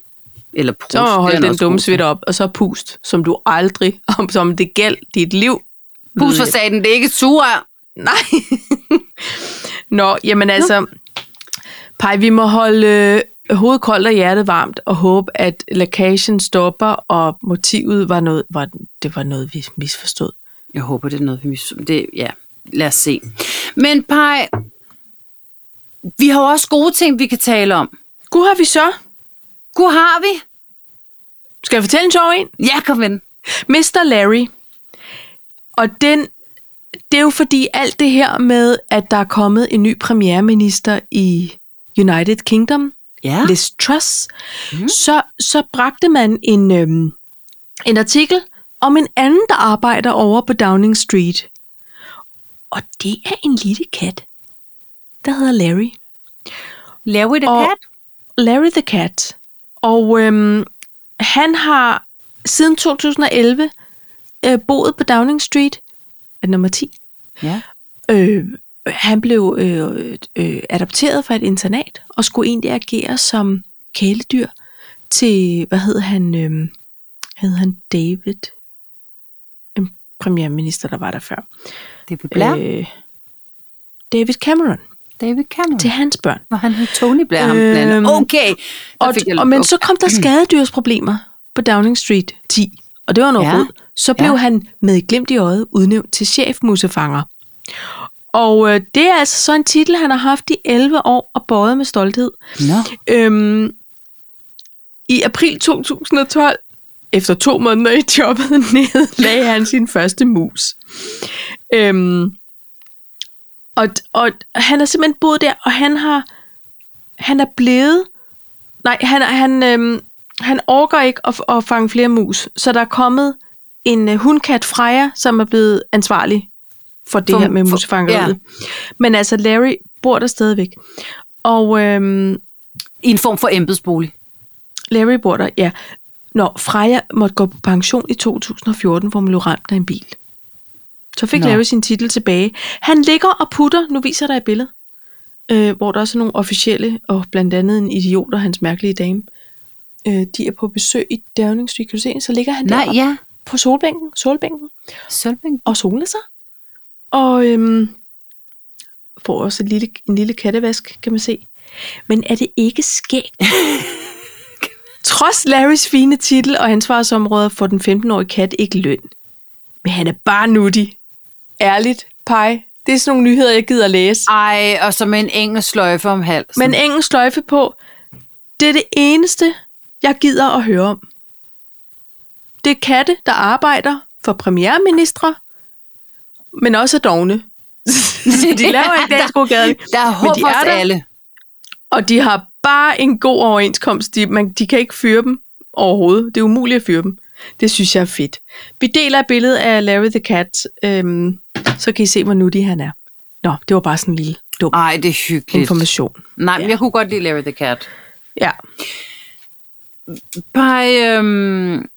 B: Eller prus.
A: Så må du
B: det er
A: holde den
B: også
A: dumme
B: god til.
A: svitter op, og så pust, som du aldrig, <laughs> om som det gæld dit liv.
B: Pus for staten, det er ikke sura.
A: Nej. Nå, jamen altså, Pej, vi må holde øh, hovedet koldt og hjertet varmt, og håbe, at lækagen stopper, og motivet var noget, var, det var noget, vi misforstod.
B: Jeg håber, det er noget, vi mis... Det, ja, lad os se. Men Pej, vi har jo også gode ting, vi kan tale om.
A: Gud har vi så.
B: Gud har vi?
A: Skal jeg fortælle en sjov en?
B: Ja, kom ind.
A: Mr. Larry. Og den, det er jo fordi alt det her med, at der er kommet en ny premierminister i United Kingdom,
B: Ja.
A: Liz Truss,
B: Ah. Mm.
A: mm. så, så bragte man en, øhm, en artikel om en anden, der arbejder over på Downing Street. Og det er en lille kat, der hedder Larry.
B: Laver vi det
A: Og-
B: kat?
A: Larry the Cat. Og øhm, han har siden 2011 øh, boet på Downing Street, er det nummer 10.
B: Ja.
A: Øh, han blev øh, øh, adopteret fra et internat og skulle egentlig agere som kæledyr til, hvad hed han, øh, hed han David, en premierminister, der var der før.
B: Det er Blair. Øh,
A: Øh, David Cameron,
B: David Cameron.
A: til hans børn.
B: Når han hed Tony Blair, ham den anden.
A: Øhm,
B: Okay. Der
A: Og,
B: fik jeg-
A: og, men så kom der
B: <clears throat>
A: skadedyrsproblemer på Downing Street 10, og det var noget
B: Ja.
A: ja. rod. Så blev
B: Ja.
A: ja. han med et glimt i øjet udnævnt til chefmusefanger. Og øh, det er altså så en titel, han har haft i 11 år og båret med stolthed.
B: Nå.
A: Øhm, I april 2012, efter to måneder i jobbet, <laughs> nedlagde han sin første mus. Øhm, og, og han har simpelthen boet der, og han har han er blevet... Nej, han, er- han, øhm, han orker ikke at, at fange flere mus, så der er kommet en øh, hundkat Freja, som er blevet ansvarlig for det
B: For-
A: for, her med
B: for-
A: musefangeriet.
B: ja.
A: Ja. Men altså, Larry bor der stadigvæk. Og øhm,
B: I en form for embedsbolig.
A: Larry bor der, ja. Når Freja måtte gå på pension i 2014, hvor hun blev ramt af en bil. Så fik
B: Nå.
A: Larry sin titel tilbage. Han ligger og putter, nu viser jeg dig et billede, øh, hvor der også er nogle officielle, og blandt andet en idiot og hans mærkelige dame. Øh, de er på besøg i Downing Street, kan du se? Så ligger han
B: Nej,
A: der
B: ja.
A: på solbænken, solbænken
B: Sølvbænk.
A: og sole sig. Og øhm, får også et lille, en lille kattevask, kan man se. Men er det ikke skægt? Trods Larrys fine titel og ansvarsområder får den 15-årige kat ikke løn. Men han er bare nuttig. Ærligt, pej. Det er sådan nogle nyheder, jeg gider læse.
B: Ej, og så med en engelsk sløjfe om halsen.
A: Men engelsk sløjfe på, det er det eneste, jeg gider at høre om. Det er katte, der arbejder for premierministre, men også er dogne. <laughs> Så de laver ikke dansk godgade.
B: der er håb
A: de
B: for
A: er
B: os
A: der.
B: alle.
A: Og de har bare en god overenskomst. De, man, de kan ikke fyre dem overhovedet. Det er umuligt at fyre dem. Det synes jeg er fedt. Vi deler et billede af Larry the Cat, øhm, så kan I se, hvor nuttig han er. Nå, det var bare sådan en lille dum
B: Ej, det er hyggeligt.
A: information.
B: Nej, men
A: Ja.
B: jeg kunne godt lide Larry the Cat.
A: Ja.
B: Pej, øhm,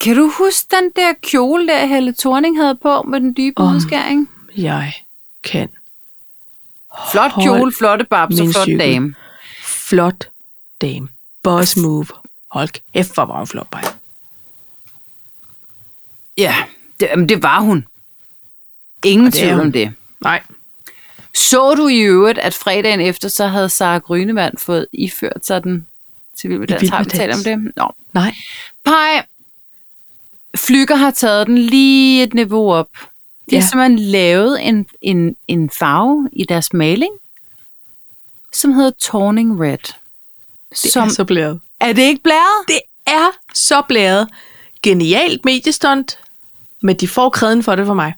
B: kan du huske den der kjole, der Helle Thorning havde på med den dybe
A: Åh,
B: oh, udskæring?
A: Jeg kan
B: Flot
A: hold
B: kjole, flotte babs og
A: min
B: flot
A: cykel.
B: dame.
A: flot dame. Boss move. Hold kæft, hvor var hun flot, Maja.
B: Ja, det, jamen, det var hun. Ingen
A: det er
B: tvivl om
A: hun.
B: det.
A: Nej.
B: Så du i øvrigt, at fredagen efter, så havde Sara Grønemann fået iført sig den til Vild med
A: I
B: Dans.
A: Vild
B: Har vi
A: med
B: talt om
A: Dans.
B: det? Nå.
A: Nej.
B: Pej, Flyger har taget den lige et niveau op. De ja.
A: Ja.
B: har simpelthen lavet en, en, en farve i deres maling, som hedder Turning Red.
A: Det
B: som,
A: er så blæret.
B: er det ikke blæret?
A: Det er så blæret. Genialt mediestunt, men de får kreden for det for mig.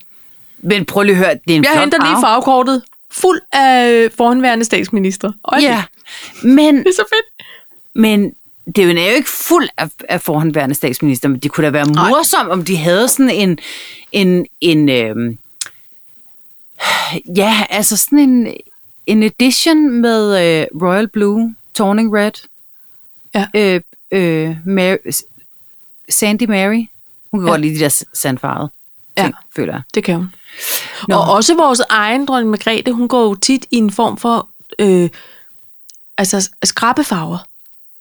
B: Men prøv lige at høre, det er en
A: Jeg
B: flot
A: henter lige
B: farve.
A: farvekortet fuld af øh, forhenværende statsminister. Og
B: Ja, men,
A: <laughs> Det er så fedt.
B: men det er jo- den er jo ikke fuld af, af forhåndværende statsminister, men det kunne da være
A: Nej.
B: morsomt, om de havde sådan en... en, en øhm, ja, altså sådan en, en edition med øh, Royal Blue, Turning Red,
A: Ja.
B: øh, øh, Mary, Sandy Mary. Hun kan
A: Ja.
B: ja. godt lide de der s- sandfarvede ting, ja. føler jeg.
A: Det kan hun.
B: Nå.
A: Nå. Og også vores egen dronning Margrethe, hun går jo tit i en form for øh, altså skrabefarver.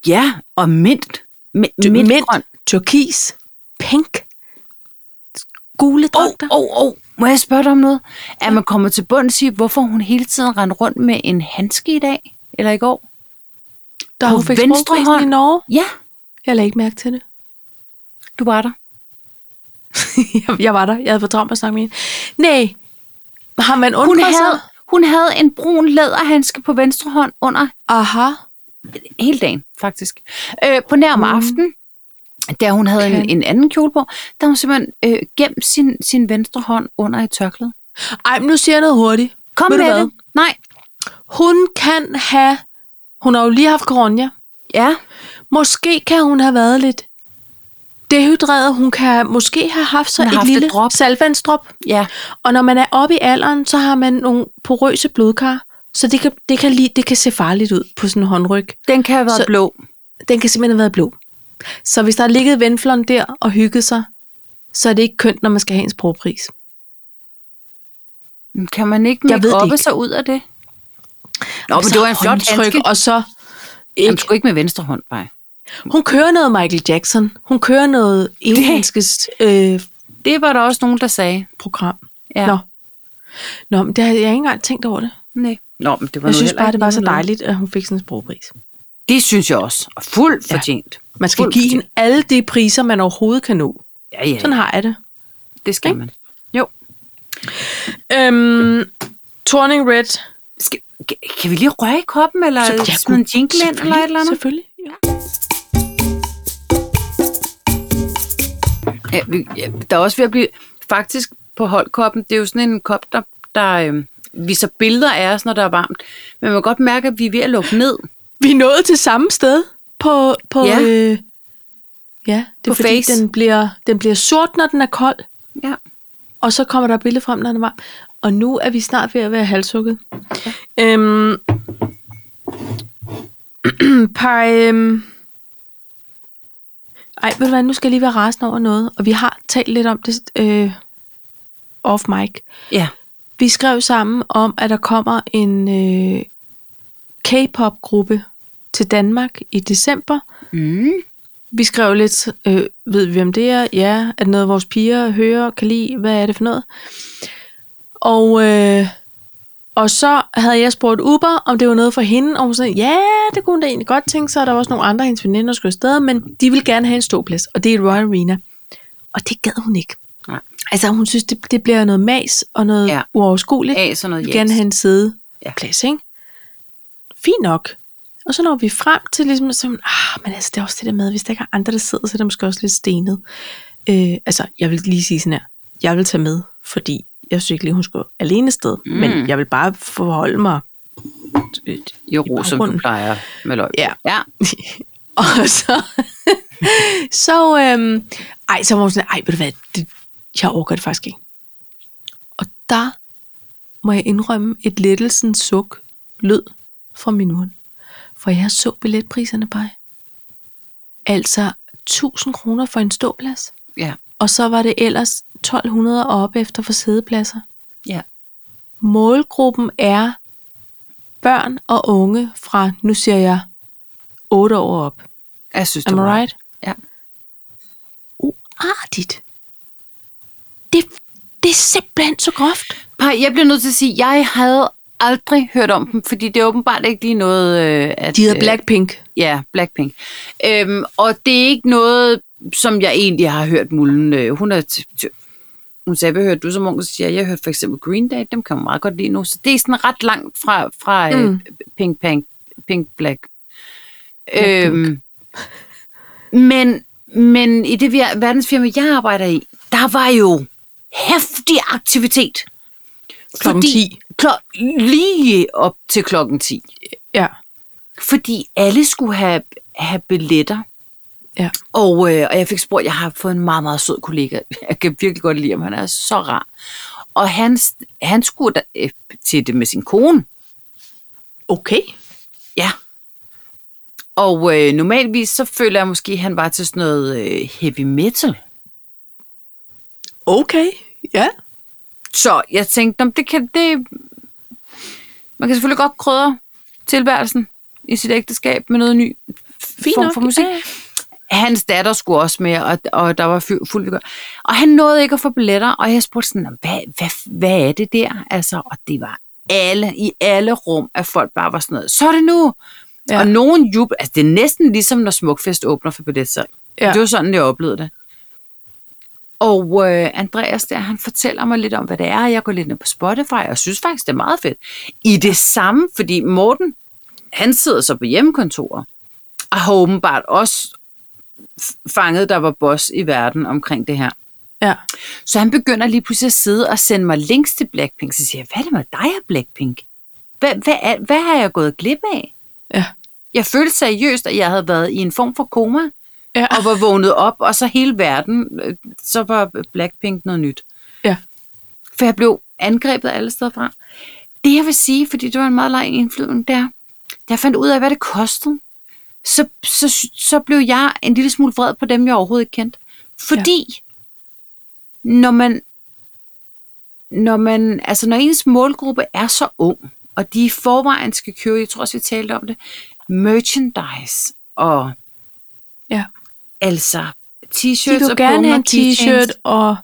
B: Ja, og mint. Mint, mint, mint.
A: turkis, pink, gule
B: Åh,
A: dragter.
B: åh, åh, må jeg spørge dig om noget? Er man kommet til bunds i, hvorfor hun hele tiden rendte rundt med en handske i dag? Eller i går?
A: Der
B: På
A: hun fik
B: venstre
A: sprogprisen
B: hånd.
A: i Norge.
B: Ja,
A: Jeg lagde ikke mærke til det.
B: du var der.
A: <laughs> jeg, jeg var der. Jeg havde fået travlt med at snakke med hende. Nej. Har man
B: Hun
A: undret
B: havde,
A: sig?
B: hun havde en brun læderhandske på venstre hånd under
A: Aha.
B: hele dagen, faktisk. Øh, på nærm mm. aften, da hun havde okay. en,
A: Okay.
B: en anden kjole på, der hun simpelthen øh, gemt sin, sin venstre hånd under et tørklæde.
A: Ej, men nu siger jeg noget hurtigt.
B: Kom
A: Ved du
B: med
A: hvad?
B: det. Nej.
A: Hun kan have... Hun har jo lige haft corona.
B: Ja.
A: Måske kan hun have været lidt dehydreret. Hun kan måske have haft så
B: Hun har
A: et
B: haft et
A: lille
B: drop.
A: salvandsdrop.
B: Ja.
A: Og når man er oppe i alderen, så har man nogle porøse blodkar. Så det kan, det kan, lige, det kan se farligt ud på sådan en håndryg.
B: Den kan have været
A: Så-
B: blå.
A: Den kan simpelthen have været blå. Så hvis der har ligget venflon der og hygget sig, så er det ikke kønt, når man skal have en sprogpris.
B: Kan man ikke
A: Jeg ved det
B: make
A: ikke.
B: sig ud af det? Nå, men det var en flot handske.
A: Og så
B: Jamen,
A: ikke.
B: sgu ikke med venstre hånd, bare.
A: Hun kører noget Michael Jackson. Hun kører noget engelskes øh,
B: Det var der også nogen, der sagde.
A: program.
B: Ja.
A: Nå. Nå, men det havde jeg ikke engang tænkt over det.
B: Nej. Nå, men det var
A: Jeg
B: nu
A: synes
B: heller
A: bare,
B: ikke
A: det var så
B: noget.
A: dejligt, at hun fik sådan en sprogpris.
B: Det synes jeg også. Og fuldt
A: Ja.
B: fortjent.
A: Man skal
B: Fuldt
A: give
B: fortjent.
A: hende alle de priser, man overhovedet kan nå.
B: Ja, ja,
A: Sådan har jeg det.
B: det skal man. Jo.
A: Øhm, Turning Red.
B: Skal, kan- kan vi lige røre i koppen, eller
A: jeg
B: smide en
A: kunne-
B: jingle ind, eller et eller andet?
A: Selvfølgelig. Ja.
B: Ja, vi, ja, der er også ved at blive... Faktisk på holdkoppen, det er jo sådan en kop, der, der øh, viser billeder af os, når der er varmt. Men man kan godt mærke, at vi er ved at lukke ned
A: Vi er nået til samme sted på, på,
B: Ja.
A: øh, ja det
B: På
A: er fordi,
B: face.
A: den bliver, den bliver sort, når den er kold,
B: ja.
A: og så kommer der et billede frem, når den er varm. Og nu er vi snart ved at være halshugget. Ja. Øhm, <clears throat> par, øhm, Ej, ved du hvad, nu skal jeg lige være rasende over noget, og vi har talt lidt om det øh, off mic.
B: Ja.
A: Vi skrev sammen om, at der kommer en øh, K-pop-gruppe til Danmark i december.
B: Mm.
A: Vi skrev lidt, øh, ved vi hvem det er? Ja, er det noget vores piger hører, kan lide? Hvad er det for noget? Og, øh, og så havde jeg spurgt Uber, om det var noget for hende, og hun sagde, ja, det kunne hun da egentlig godt tænke sig, og der var også nogle andre af hendes veninder, der skulle afsted, men de ville gerne have en ståplads, og det er i Royal Arena. Og det gad hun ikke.
B: Nej.
A: Altså hun synes, det, det bliver noget mas og noget
B: Ja.
A: ja. uoverskueligt.
B: Af sådan noget
A: Vi vil gerne have en
B: Ja.
A: sædeplads, ja. ikke? Fint nok. Og så når vi frem til ligesom, så, ah, men altså, det er også det der med, hvis der ikke er andre, der sidder, så er det måske også lidt stenet. Øh, altså, jeg vil lige sige sådan her, jeg vil tage med, fordi jeg synes ikke lige, hun skulle alene sted, mm.
B: Mm.
A: men jeg vil bare forholde mig. øh,
B: I ro, som du
A: baggrunden.
B: plejer med løg.
A: Ja.
B: ja.
A: <laughs> Og så, så, øhm, ej, så var hun sådan, ej, ved du hvad, det, jeg overgår det faktisk ikke. Og der må jeg indrømme, et lettelsens suk lød fra min mund. For jeg så billetpriserne bare. Altså 1000 kroner for en ståplads.
B: Ja.
A: Og så var det ellers 1200 og op efter for sædepladser.
B: Ja.
A: Målgruppen er børn og unge fra, nu siger jeg, 8 år op.
B: Jeg synes,
A: Am
B: du
A: I
B: var-
A: right?
B: Ja.
A: Uartigt. Det, det er simpelthen så groft.
B: Paj, jeg bliver nødt til at sige, at jeg havde aldrig hørt om dem, fordi det er åbenbart ikke lige noget... Øh, at,
A: De hedder
B: øh,
A: Blackpink.
B: Ja, Blackpink. Øhm, og det er ikke noget, som jeg egentlig har hørt Mullen. Øh, hun er... T- t- hun sagde, hvad hørte du som ung? Så siger jeg, jeg hørte for eksempel Green Day, dem kan man meget godt lide nu. Så det er sådan ret langt fra, fra mm. øh,
A: Mm.
B: Pink, Pink, Pink Black.
A: Blackpink.
B: Øhm, men, men i det vir- verdensfirma, jeg arbejder i, der var jo hæftig aktivitet.
A: Klokken 10.
B: Klo- lige op til klokken 10.
A: Ja.
B: Fordi alle skulle have, have billetter.
A: Ja.
B: Og, øh, og jeg fik spurgt, jeg har fået en meget, meget sød kollega. <laughs> Jeg kan virkelig godt lide ham, han er så rar. Og han, han skulle da, øh, til det med sin kone.
A: Okay.
B: Ja. Og øh, normalvis så føler jeg måske, at han var til sådan noget øh, heavy metal.
A: Okay. Ja.
B: Så jeg tænkte, om det kan det... Man kan selvfølgelig godt krydre tilværelsen i sit ægteskab med noget ny
A: Fint
B: form
A: nok.
B: for musik.
A: Ja, ja.
B: Hans datter skulle også med, og, og der var fu- fuld vigør. Og han nåede ikke at få billetter, og jeg spurgte sådan, "Nå, hvad, hvad, hvad er det der? Altså, og det var alle, i alle rum, at folk bare var sådan noget, så er det nu! Ja.
A: Ja.
B: Og nogen jubel, altså det er næsten ligesom, når Smukfest åbner for billetsalg. Ja.
A: Ja.
B: Det var sådan, jeg oplevede det. Og øh, Andreas der, han fortæller mig lidt om, hvad det er. Jeg går lidt ned på Spotify, og synes faktisk, det er meget fedt. I det samme, fordi Morten, han sidder så på hjemmekontoret, og har åbenbart også f- fanget, der var boss i verden omkring det her.
A: ja.
B: Så han begynder lige pludselig at sidde og sende mig links til Blackpink. Så siger jeg, hvad er det med dig og Blackpink? Hvad, hvad, er, hvad har jeg gået glip af?
A: Ja.
B: Jeg følte seriøst, at jeg havde været i en form for koma,
A: Ja.
B: og var vågnet op, og så hele verden, øh, så var Blackpink noget nyt.
A: Ja.
B: For jeg blev angrebet alle steder fra. Det jeg vil sige, fordi det var en meget lang indflydelse, der, da jeg fandt ud af, hvad det kostede, så, så, så blev jeg en lille smule vred på dem, jeg overhovedet ikke kendte. Fordi, ja. når man, når man, altså når ens målgruppe er så ung, og de i forvejen skal købe, jeg tror også, vi talte om det, merchandise og
A: ja.
B: altså
A: De
B: t-shirts
A: vil
B: og
A: gerne
B: bomber,
A: have en
B: keychains.
A: t-shirt og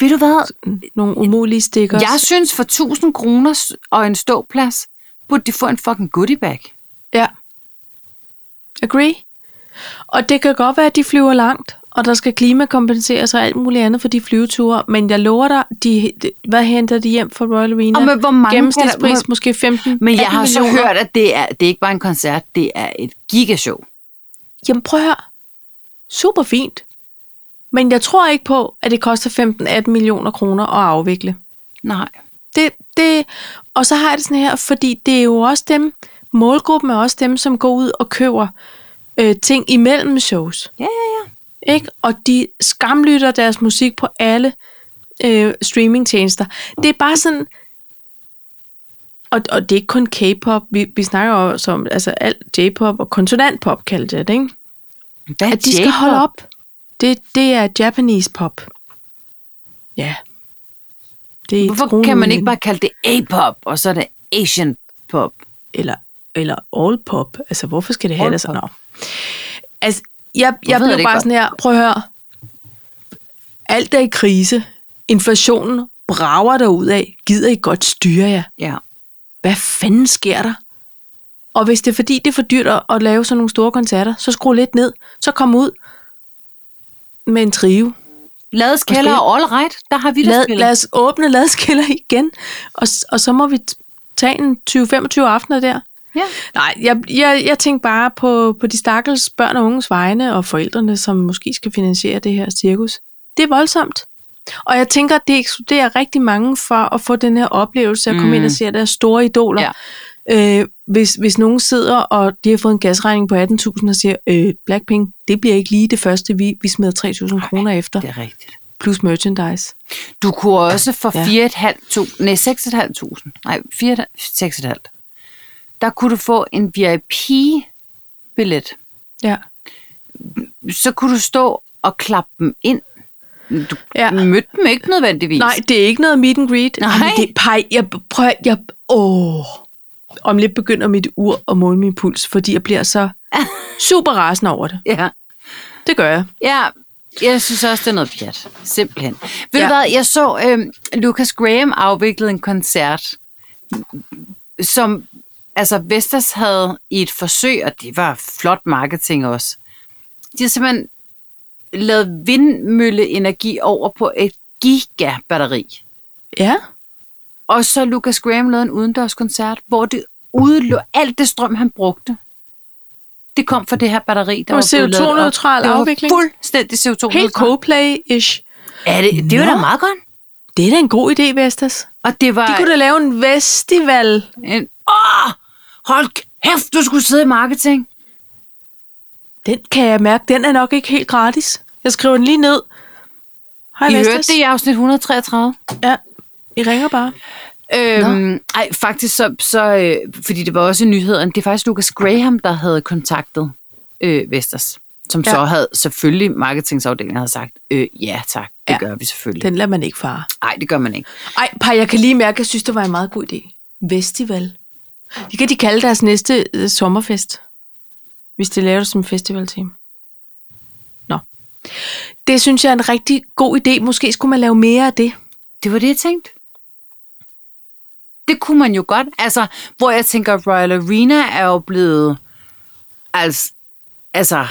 B: Ved du hvad?
A: nogle umulige stickers.
B: Jeg synes for 1000 kroner s- og en ståplads, burde de få en fucking goodie bag.
A: Ja. Agree. Og det kan godt være, at de flyver langt, og der skal klimakompenseres og alt muligt andet for de flyveture, men jeg lover dig, de, de, hvad henter de hjem fra Royal Arena?
B: Og med hvor mange
A: Gennemsnitspris
B: pris-
A: måske 15
B: Men jeg
A: 18
B: har så
A: millioner.
B: hørt, at det er, det er ikke bare en koncert, det er et gigashow.
A: Jamen prøv at høre. Super fint. Men jeg tror ikke på, at det koster 15-18 millioner kroner at afvikle.
B: Nej.
A: Det, det, og så har jeg det sådan her, fordi det er jo også dem, målgruppen er også dem, som går ud og køber øh, ting imellem shows.
B: Ja, ja, ja.
A: Ikke? Og de skamlytter deres musik på alle øh, streamingtjenester. Det er bare sådan... Og, og det er ikke kun K-pop, vi, vi snakker jo også om altså alt J-pop og konsonantpop, kalder det, ikke?
B: Hvad er
A: At de skal holde op. Det, det er Japanese pop. Ja. Det er
B: Hvorfor
A: tronen
B: kan man
A: i
B: ikke
A: den.
B: bare kalde det A-pop, og så er det Asian pop?
A: Eller, eller all pop. Altså, hvorfor skal det have
B: All
A: det sådan
B: pop.
A: op? Altså, jeg,
B: ved
A: jeg
B: jeg
A: blev
B: det ikke
A: bare
B: godt.
A: sådan her, prøv at høre. Alt er i krise. Inflationen brager derudad. Gider I godt styre jer?
B: Ja.
A: hvad fanden sker der? Og hvis det er fordi, det er for dyrt at- at lave sådan nogle store koncerter, så skru lidt ned, så kom ud med en trio.
B: Lades kælder
A: Måske.
B: og all right, der har vi
A: Lad,
B: det
A: lad os åbne ladskælder igen, og, s- og så må vi t- tage en 20-25 aftener der.
B: Ja.
A: Nej, jeg, jeg, jeg tænkte bare på, på de stakkels børn og unges vegne, og forældrene, som måske skal finansiere det her cirkus. Det er voldsomt. Og jeg tænker, at det ekskluderer rigtig mange for at få den her oplevelse at komme
B: Mm.
A: ind og se deres store idoler.
B: Ja.
A: Øh, hvis, hvis nogen sidder, og de har fået en gasregning på 18.000 og siger, øh, Blackpink, det bliver ikke lige det første, vi, vi smider 3.000 kroner efter,
B: Det er rigtigt.
A: plus merchandise.
B: Du kunne også for
A: Ja.
B: 4.500, nej 6.500, nej 4, 6.500, der kunne du få en VIP-billet.
A: Ja.
B: Så kunne du stå og klappe dem ind. Du
A: Ja.
B: ja. mødte dem ikke nødvendigvis.
A: Nej, det er ikke noget meet and greet.
B: Nej.
A: Jamen, det er pej. Jeg prøver, jeg, åh. Om lidt begynder mit ur at måle min puls, fordi jeg bliver
B: <laughs>
A: så super rasende over det.
B: Ja.
A: Det gør jeg.
B: Ja, jeg synes også, det er noget pjat. Simpelthen.
A: Ja.
B: Ved ja. du hvad, jeg så øhm, Lucas Graham afvikle en koncert, som altså Vestas havde i et forsøg, og det var flot marketing også. De har simpelthen lavet vindmølleenergi over på et gigabatteri.
A: Ja.
B: Og så Lucas Graham lavede en udendørskoncert, hvor det udelå alt det strøm, han brugte. Det kom fra det her batteri, der
A: var
B: blevet lavet op.
A: CO2-neutral
B: Det var
A: afvikling.
B: Fuldstændig CO2-neutral.
A: Helt Coldplay-ish.
B: Er det, det var
A: Nå.
B: da meget godt.
A: Det er da en god idé, Vestas.
B: Og det var...
A: De kunne da lave en festival.
B: en, åh, hold kæft, du skulle sidde i marketing.
A: Den kan jeg mærke, den er nok ikke helt gratis. Jeg skriver den lige ned. Hej,
B: I hørte
A: Vestas.
B: det i afsnit 133.
A: Ja, I ringer bare.
B: Øhm, ej, faktisk så, så øh, fordi det var også i nyhederne, det er faktisk Lucas Graham, der havde kontaktet øh, Vestas, som
A: Ja.
B: ja. så havde selvfølgelig marketingsafdelingen havde sagt, øh, ja tak, det
A: Ja.
B: ja. gør vi selvfølgelig.
A: Den lader man ikke fare.
B: Nej, det gør man ikke.
A: Ej, par, jeg kan lige mærke, at jeg synes, det var en meget god idé. Festival. Det kan de kalde deres næste øh, sommerfest. Hvis de laver det som festivalteam. Nå. Det synes jeg er en rigtig god idé. Måske skulle man lave mere af det.
B: Det var det, jeg tænkte. Det kunne man jo godt. Altså, hvor jeg tænker, Royal Arena er jo blevet... Altså, altså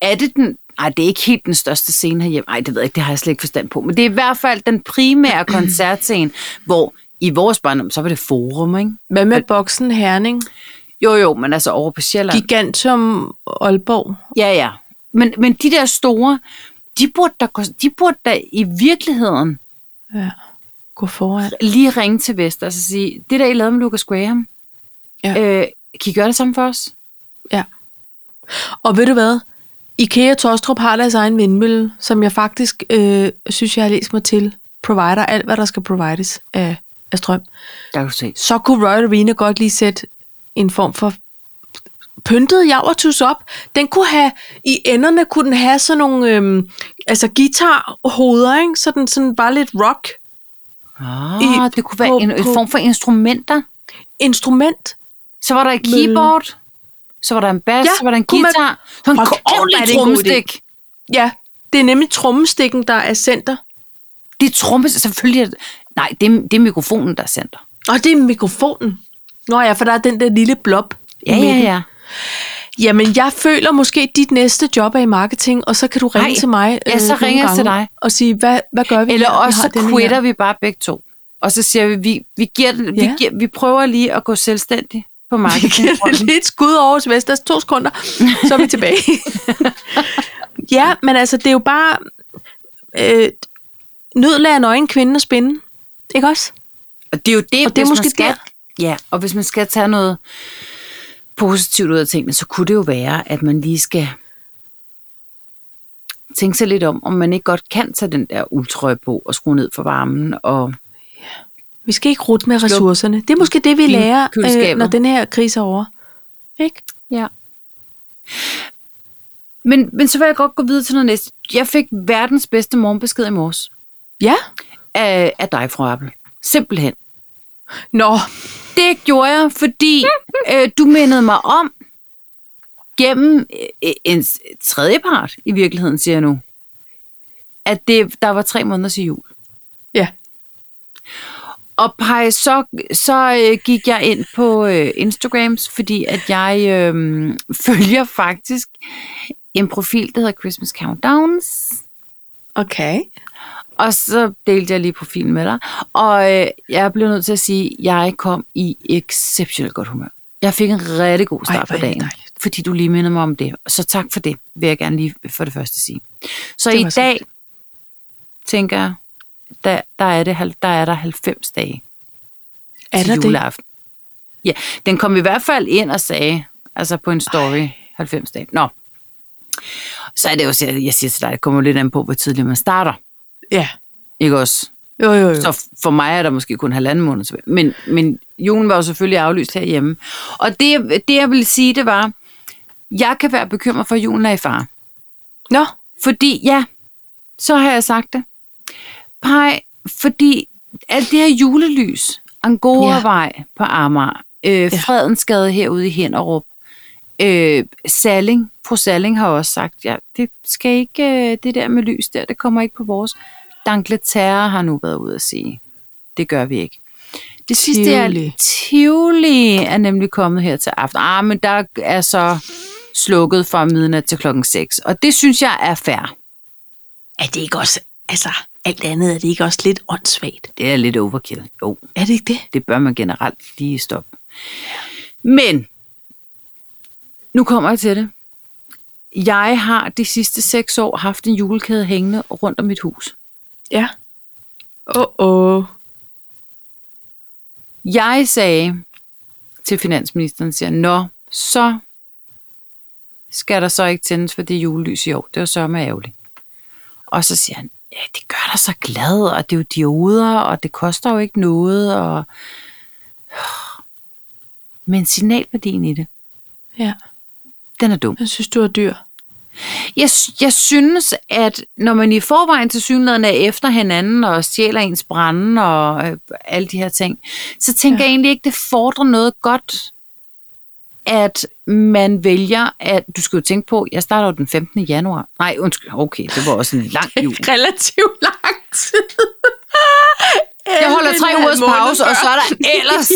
B: er det den... Ej, det er ikke helt den største scene herhjemme. Ej, det ved jeg ikke, det har jeg slet ikke forstand på. Men det er i hvert fald den primære koncertscene, hvor i vores barndom, så var det forum, ikke?
A: Hvad med boksen Herning?
B: Jo, jo, men altså over på Sjælland.
A: Gigantum Aalborg?
B: Ja, ja. Men, men de der store, de burde da, gå- de burde da i virkeligheden
A: Ja. Gå foran.
B: lige ringe til Vest og så sige, det der I lavede med Lucas Graham,
A: Ja.
B: ja. øh, kan I gøre det samme for os?
A: Ja. Og ved du hvad? IKEA Tostrup har deres egen vindmølle, som jeg faktisk øh, synes, jeg har læst mig til. Provider alt, hvad der skal provides af, af strøm.
B: Der kan du se.
A: så kunne Royal Arena godt lige sætte en form for pyntet javertus op. Den kunne have, i enderne kunne den have sådan nogle, øhm, altså guitarhoveder, ikke? Så den sådan bare lidt rock
B: Ah,
A: I-
B: det kunne være på, en, en
A: på-
B: form for instrumenter.
A: instrument.
B: Så var der et
A: Mølle.
B: keyboard, så var der en bas,
A: Ja,
B: ja, så var der en
A: kunne man-
B: guitar, man... så en
A: Hold kæft, hvor er det
B: ordentlig
A: en god idé.
B: trommestik.
A: Ja, det er nemlig trommestikken, der er center.
B: Det er tromme, selvfølgelig. Er det, nej, det er, det er mikrofonen, der er center.
A: Og det er mikrofonen. Nå ja, for der er den der lille blob. i
B: Ja, ja,
A: midten.
B: ja.
A: Jamen, jeg føler måske, at dit næste job er i marketing, og så kan du ringe
B: Ej,
A: til mig. øh,
B: ja, så
A: nogle
B: ringer jeg til
A: gange
B: dig.
A: Og sige, hvad, hvad gør vi?
B: Eller
A: her? Vi
B: også
A: har
B: så
A: denne her.
B: quitter vi bare begge to. Og så siger vi, vi, vi, giver, den,
A: Ja.
B: vi, giver, vi prøver lige at gå selvstændig på markedet.
A: lidt skud over hos Vestas. To sekunder, så er vi <laughs> tilbage. ja, men altså, det er jo bare... Øh, nød lader nøgen kvinden at spinde. Ikke også?
B: Og det er jo det,
A: Og det er
B: hvis
A: måske
B: man skal,
A: der.
B: Ja, og hvis man skal tage noget positivt ud af tingene, så kunne det jo være, at man lige skal tænke sig lidt om, om man ikke godt kan tage den der uldtrøje på og skrue ned for varmen. Og
A: Vi skal ikke rute med ressourcerne. Det er måske det, vi
B: Bil-
A: lærer, øh,
B: køleskabet.
A: når den her krise er over. Ikke?
B: ja. Men, men så vil jeg godt gå videre til noget næste. Jeg fik verdens bedste morgenbesked i morges
A: Ja.
B: af, af dig, fru Appel. Simpelthen.
A: Nå,
B: Det gjorde jeg, fordi øh, du mindede mig om, gennem øh, en s- tredjepart i virkeligheden, siger jeg nu, at det, der var tre måneder til jul.
A: ja.
B: Og pej, så, så øh, gik jeg ind på øh, Instagrams, fordi at jeg øh, <laughs> følger faktisk en profil, der hedder Christmas Countdowns.
A: Okay.
B: Og så delte jeg lige profilen med dig. Og øh, jeg blev nødt til at sige, at jeg kom i exceptionelt godt humør. Jeg fik en rigtig god
A: Ej,
B: start
A: hvor
B: på
A: er det
B: dagen,
A: dejligt.
B: fordi du lige minder mig om det. Så tak for det, vil jeg gerne lige for det første sige. Så
A: Det
B: i
A: var så
B: dag, tænker jeg, der, der, er det, halv- der er der 90 dage
A: Er
B: til
A: der det?
B: juleaften. Det? Ja, den kom i hvert fald ind og sagde, altså på en story, Ej. 90 dage. Nå. Så er det jo, så jeg jeg siger til dig, det kommer jo lidt an på, hvor tidligt man starter.
A: Ja.
B: Ikke også?
A: Jo, jo, jo.
B: Så for mig er der måske kun halvanden måned tilbage. Men, men julen var jo selvfølgelig aflyst herhjemme. Og det, det jeg ville sige, det var, jeg kan være bekymret for, at julen er i fare.
A: Nå,
B: Fordi, ja, så har jeg sagt det. Pej, fordi alt det her julelys, Angoravej ja. på Amager, øh, Fredensgade herude i Hinderup, øh, Salling, fru Salling har også sagt, ja, det skal ikke, øh, det der med lys der, det kommer ikke på vores. D'Angleterre har nu været ude at sige, det gør vi ikke. Det sidste er,
A: Tivoli.
B: Tivoli er nemlig kommet her til aften. Ah, men der er så slukket fra midnat til klokken 6, og det synes jeg er fair.
A: er det ikke også, altså alt andet er det ikke også lidt åndssvagt?
B: Det er lidt overkill. Jo,
A: Er det ikke det?
B: det bør man generelt lige stoppe. Men, nu kommer jeg til det. Jeg har de sidste seks år haft en julekæde hængende rundt om mit hus.
A: Ja. Åh, oh, åh. Oh.
B: Jeg sagde til finansministeren, siger, nå, så skal der så ikke tændes for det julelys i år. Det var sørme ærgerligt. Og så siger han, ja, det gør dig så glad, og det er jo dioder, og det koster jo ikke noget, og... Men signalværdien i det,
A: Ja.
B: den er dum.
A: Jeg synes, du er dyr.
B: Jeg, jeg synes, at når man i forvejen til synligheden er efter hinanden og stjæler ens brænde og øh, alle de her ting, så tænker ja.
A: Ja.
B: jeg egentlig ikke, det fordrer noget godt, at man vælger, at du skal jo tænke på, jeg starter jo den 15. januar. Nej, undskyld, okay, det var også en lang jul.
A: <laughs> Relativt lang tid. <laughs>
B: Jeg holder tre ugers pause, og så er der <laughs> ellers...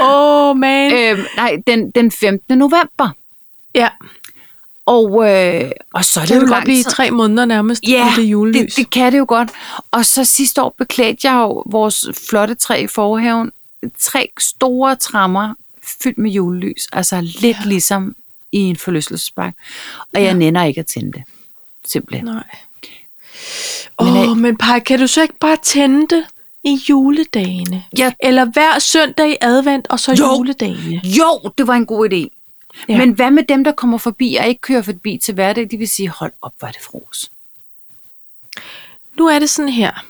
A: Åh, oh, man. Øh.
B: øhm, nej, den, den 15. november.
A: Ja,
B: Og, øh, og så er det,
A: det
B: jo
A: vil
B: lang
A: godt blive
B: tid.
A: tre måneder nærmest,
B: Ja,
A: yeah, det julelys.
B: Det, det kan det jo godt. Og så sidste år beklædte jeg jo vores flotte træ i forhaven. Tre store trammer fyldt med julelys. Altså lidt ja. ligesom i en forlystelsespark. Og jeg ja. nænder ikke at tænde det. Simpelthen.
A: Nej. Åh, oh, men Paj, kan du så ikke bare tænde det i juledagene?
B: Ja.
A: Eller hver søndag i advent, og så
B: Jo.
A: juledagene?
B: Jo, det var en god idé.
A: Ja.
B: Ja. Men hvad med dem, der kommer forbi og ikke kører forbi til hverdag? De vil sige, hold op, hvor er det fros.
A: Nu er det sådan her,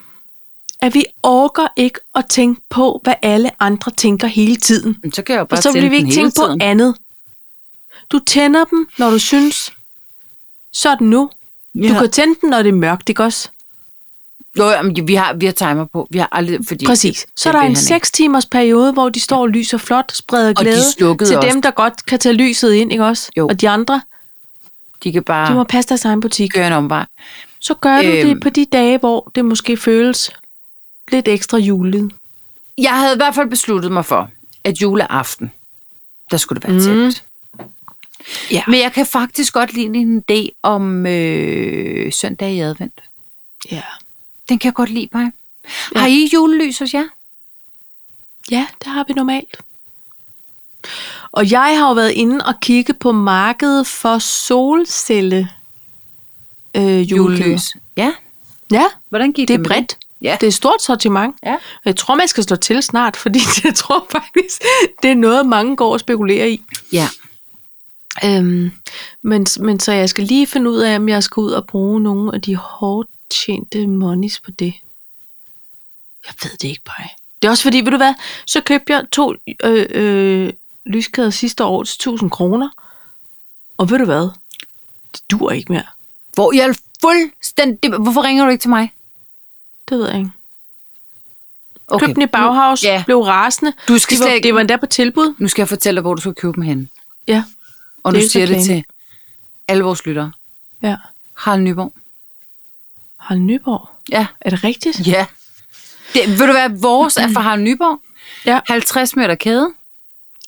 A: at vi orker ikke at tænke på, hvad alle andre tænker hele tiden.
B: Men så kan jeg jo
A: Og
B: bare
A: så
B: tænde
A: vil vi
B: den
A: ikke
B: hele
A: tænke på
B: tiden.
A: andet. Du tænder dem, når du synes. Så er den nu. Du
B: Ja.
A: kan tænde den, når det er mørkt, ikke også?
B: Jo, jamen, vi har, vi har timer på. Vi har aldrig, fordi
A: Præcis. Så er
B: det
A: der
B: vil
A: en
B: han ikke.
A: 6 timers periode, hvor de står og lyser flot, spreder
B: Og de
A: glæde
B: slukkede
A: til
B: også.
A: dem, der godt kan tage lyset ind, ikke også?
B: Jo.
A: Og de andre,
B: De kan bare
A: de må passe deres egen butik.
B: køre en omvej.
A: Så gør du
B: Øhm.
A: det på de dage, hvor det måske føles lidt ekstra julet.
B: Jeg havde i hvert fald besluttet mig for, at juleaften, der skulle det være tændt.
A: Mm. Ja.
B: Men jeg kan faktisk godt lide en idé om øh, søndag i advent.
A: Ja.
B: Den kan jeg godt lide, mig. Ja. Har I julelys hos jer?
A: Ja, det har vi normalt. Og jeg har jo været inde og kigge på markedet for solcelle øh, julelys.
B: Ja.
A: Ja,
B: Hvordan
A: det
B: gik det?
A: er
B: med
A: bredt.
B: Ja.
A: Det er et stort sortiment.
B: Ja.
A: Og Jeg tror, man skal slå til snart, <laughs> fordi jeg tror faktisk, det er noget, mange går og spekulerer i.
B: Ja.
A: Øhm, men, men så jeg skal lige finde ud af, om jeg skal ud og bruge nogle af de hårdt tjente monies på det. Jeg ved det ikke, Paj. Det er også fordi, ved du hvad, så købte jeg to øh, øh, lyskæder sidste år til 1000 kroner. Og ved du hvad, det dur ikke mere.
B: Hvor jeg er fuldstændig... Hvorfor ringer du ikke til mig?
A: Det ved jeg ikke. Okay. Købte den i Bauhaus,
B: Nu, ja.
A: ja. blev rasende.
B: Du skal
A: det, var,
B: slet ikke-
A: det var endda på tilbud.
B: nu skal jeg fortælle dig, hvor du skal købe dem henne.
A: Ja,
B: Og
A: Det
B: nu
A: er ikke
B: siger jeg det
A: reklame.
B: til alle vores lyttere.
A: ja.
B: Harald Nyborg.
A: Harald Nyborg.
B: Ja.
A: Er det rigtigt?
B: Ja. Det, vil du være vores er fra Harald Nyborg?
A: Ja.
B: 50 meter kæde.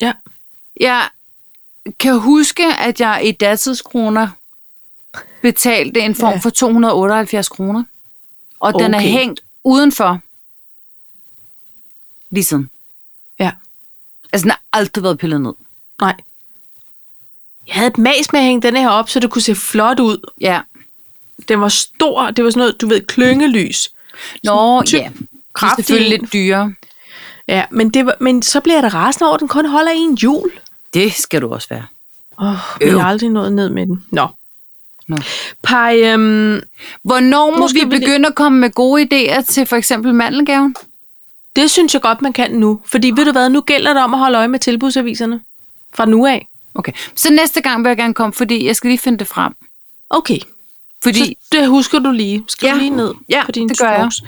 A: Ja.
B: Jeg kan huske, at jeg i datidskroner betalte en form
A: Ja.
B: ja. for 278 kroner. Og okay. den er
A: Okay.
B: hængt udenfor. Lige siden.
A: Ja.
B: Altså, den har aldrig været pillet ned.
A: Nej. Jeg havde et mas med at hænge den her op, så det kunne se flot ud.
B: Ja.
A: Den var stor, det var sådan noget, du ved, klyngelys.
B: Nå,
A: tyk,
B: ja. Det er
A: kraftig
B: selvfølgelig
A: en.
B: lidt dyrere.
A: Ja, men, det var, men så bliver jeg da rasende over, at den kun holder i en jul.
B: Det skal du også være.
A: Åh, oh, jeg
B: Øv.
A: har aldrig nået ned med den. Nå.
B: Nå.
A: Pai, øhm,
B: Hvornår må
A: Nu skal
B: vi
A: vi lige-
B: begynde at komme med gode idéer til for eksempel mandelgaven?
A: det synes jeg godt, man kan nu. Fordi ved du hvad, nu gælder det om at holde øje med tilbudsaviserne. Fra nu af.
B: Okay, så næste gang vil jeg gerne komme, fordi jeg skal lige finde det frem.
A: Okay,
B: Fordi,
A: så det husker du lige. Skriv
B: Ja.
A: lige ned
B: Ja,
A: på din
B: det gør jeg.
A: sprogs.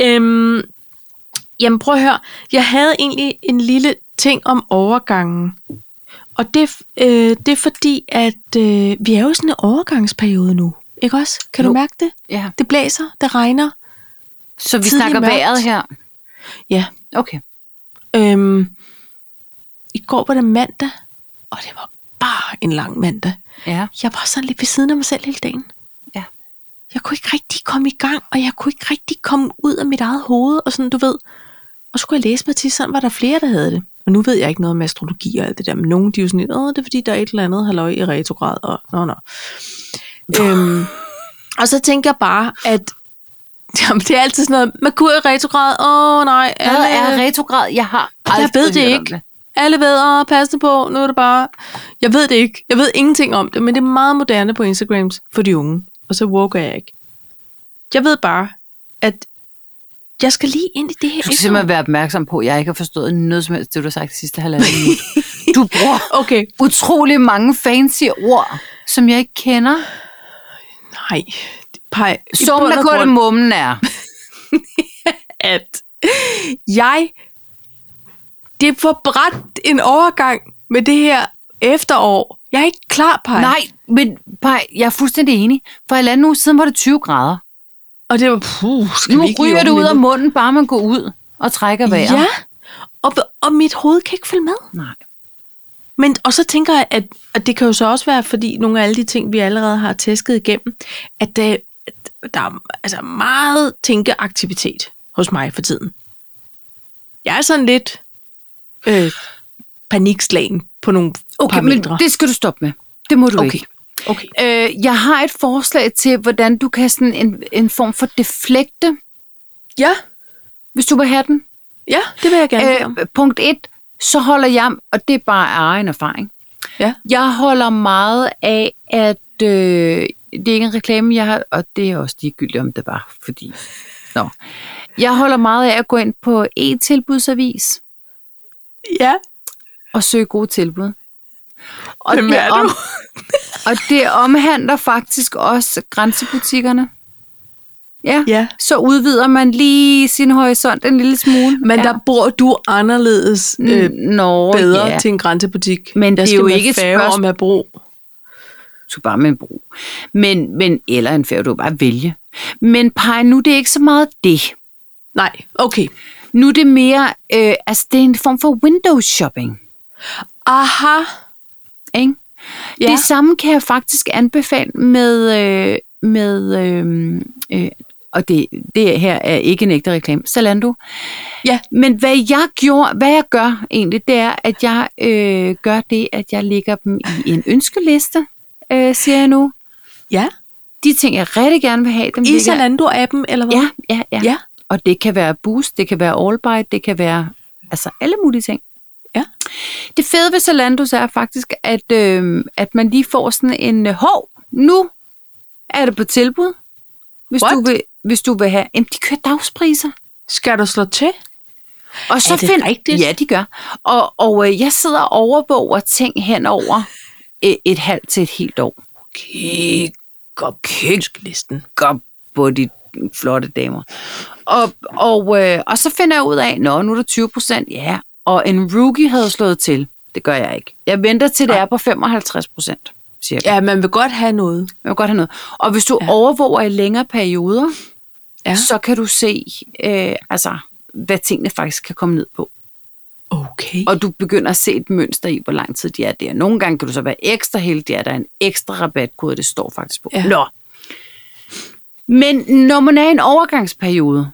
A: Øhm, jamen prøv at høre. Jeg havde egentlig en lille ting om overgangen. Og det, øh, det er fordi, at øh, vi er jo i sådan en overgangsperiode nu. Ikke også? Kan jo.
B: Jo.
A: du mærke det?
B: ja,
A: Det blæser, det regner.
B: så vi
A: Tidlig
B: snakker
A: mørkt.
B: vejret her.
A: Ja.
B: Okay.
A: Øhm, I går var det mandag, og det var bare en lang mandag.
B: Ja.
A: Jeg var sådan lidt ved siden af mig selv hele dagen.
B: Ja.
A: Jeg kunne ikke rigtig komme i gang, og jeg kunne ikke rigtig komme ud af mit eget hoved, og sådan, du ved. Og så kunne jeg læse mig til, sådan var der flere, der havde det. Og nu ved jeg ikke noget om astrologi og alt det der, men nogen de er jo sådan lidt, åh, det er fordi, der er et eller andet halløj i retrograd, og nå, nå. øhm, og så tænker jeg bare, at <laughs> jamen, det er altid sådan noget, Merkur i retrograd, åh nej,
B: Hvad
A: alle-
B: er retrograd? Jeg har aldrig
A: jeg ved det
B: hørt om
A: ikke. Alle ved, åh, pas det på, nu er det bare... Jeg ved det ikke. Jeg ved ingenting om det, men det er meget moderne på Instagrams for de unge. Og så walker jeg ikke. Jeg ved bare, at jeg skal lige ind i det her.
B: Du skal
A: efterår.
B: simpelthen være opmærksom på, at jeg ikke har forstået noget som helst, det du har sagt de sidste halvandet <laughs> minut. Du bruger
A: Okay,
B: utrolig mange fancy ord, som jeg ikke kender.
A: nej. Pej, i
B: Summen
A: bund
B: er
A: og
B: kun
A: grund,
B: mummen er.
A: at jeg... Det er for bræt en overgang med det her efterår. Jeg er ikke klar, Pej.
B: Nej, men bare, jeg er fuldstændig enig. For halvanden uge siden var det 20 grader.
A: Og det var... Puh, skal
B: Nu
A: vi ikke lige
B: ryger det
A: åbne
B: ud af
A: vinduet?
B: munden, bare man går ud og trækker vejret.
A: Ja, og, og mit hoved kan ikke følge med.
B: Nej.
A: Men, og så tænker jeg, at, at det kan jo så også være, fordi nogle af alle de ting, vi allerede har tæsket igennem, at der, at der er altså meget tænkeaktivitet hos mig for tiden. Jeg er sådan lidt øh, panikslagen på nogle okay,
B: Okay, men
A: parametre.
B: det skal du stoppe med. Det må du okay.
A: okay.
B: ikke.
A: okay.
B: Øh, jeg har et forslag til, hvordan du kan sådan en, en form for deflekte,
A: Ja,
B: hvis du vil have den.
A: ja, det vil jeg gerne bede om.
B: Øh, punkt et, så holder jeg, og det er bare af egen erfaring,
A: Ja.
B: jeg holder meget af, at øh, det er ikke en reklame, jeg har, og det er også ligegyldigt, om det var, fordi... Nå. Jeg holder meget af at gå ind på e-tilbudsavis
A: Ja,
B: og søge gode tilbud. Og
A: Hvem er du?
B: og det omhandler faktisk også grænsebutikkerne. Ja.
A: ja.
B: Så udvider man lige sin horisont en lille smule.
A: Men
B: ja.
A: ja. der bor du anderledes øh,
B: Mm, Nå,
A: bedre
B: ja.
A: ja. til en grænsebutik.
B: Men
A: der
B: det er
A: skal
B: jo
A: man
B: ikke et
A: færge
B: spørgsmål-
A: om at bruge.
B: skulle bare med en bro. Men, men, eller en færge, du kan bare vælge. Men pej, nu er det ikke så meget det.
A: Nej, okay.
B: Nu er det mere, øh, altså det er en form for window shopping.
A: Aha.
B: Ikke? Ja.
A: Ja.
B: Det samme kan jeg faktisk anbefale med, øh, med øh, øh, og det, det her er ikke en ægte reklame, Zalando.
A: Ja.
B: Men hvad jeg gjorde, hvad jeg gør egentlig, det er, at jeg øh, gør det, at jeg lægger dem i en ønskeliste, øh, siger jeg nu.
A: Ja.
B: De ting, jeg rigtig gerne vil have, dem
A: I
B: ligger
A: Zalando-appen, eller hvad?
B: Ja, ja, ja,
A: Ja.
B: Og det kan være Boost, det kan være Allbite, det kan være altså alle mulige ting.
A: Ja.
B: Det fede ved Zalando så er faktisk, at, øh, at man lige får sådan en, øh, hov, nu er det på tilbud. Hvis
A: What?
B: du, vil, hvis du vil have, jamen de kører dagspriser.
A: Skal du slå til?
B: Og så
A: Er det
B: find,
A: rigtigt?
B: Ja, de gør. Og, og øh, jeg sidder og overvåger ting hen over øh, et halvt til et helt år.
A: kigger på listen.
B: godt på de flotte damer. Og, og, øh, og så finder jeg ud af, nå, nu er der 20 procent, ja. Og en rookie havde slået til. Det gør jeg ikke. Jeg venter til, det er på 55 procent, cirka.
A: Ja, man vil godt have noget.
B: Jeg vil godt have noget. Og hvis du ja. overvåger i længere perioder,
A: Ja.
B: ja. så kan du se, øh, altså, hvad tingene faktisk kan komme ned på.
A: Okay. Og
B: Og du begynder at se et mønster i, hvor lang tid de er der. Nogle gange kan du så være ekstra heldig, at der er en ekstra rabatkode, det står faktisk på.
A: Ja.
B: Nå. Men når man er i en overgangsperiode,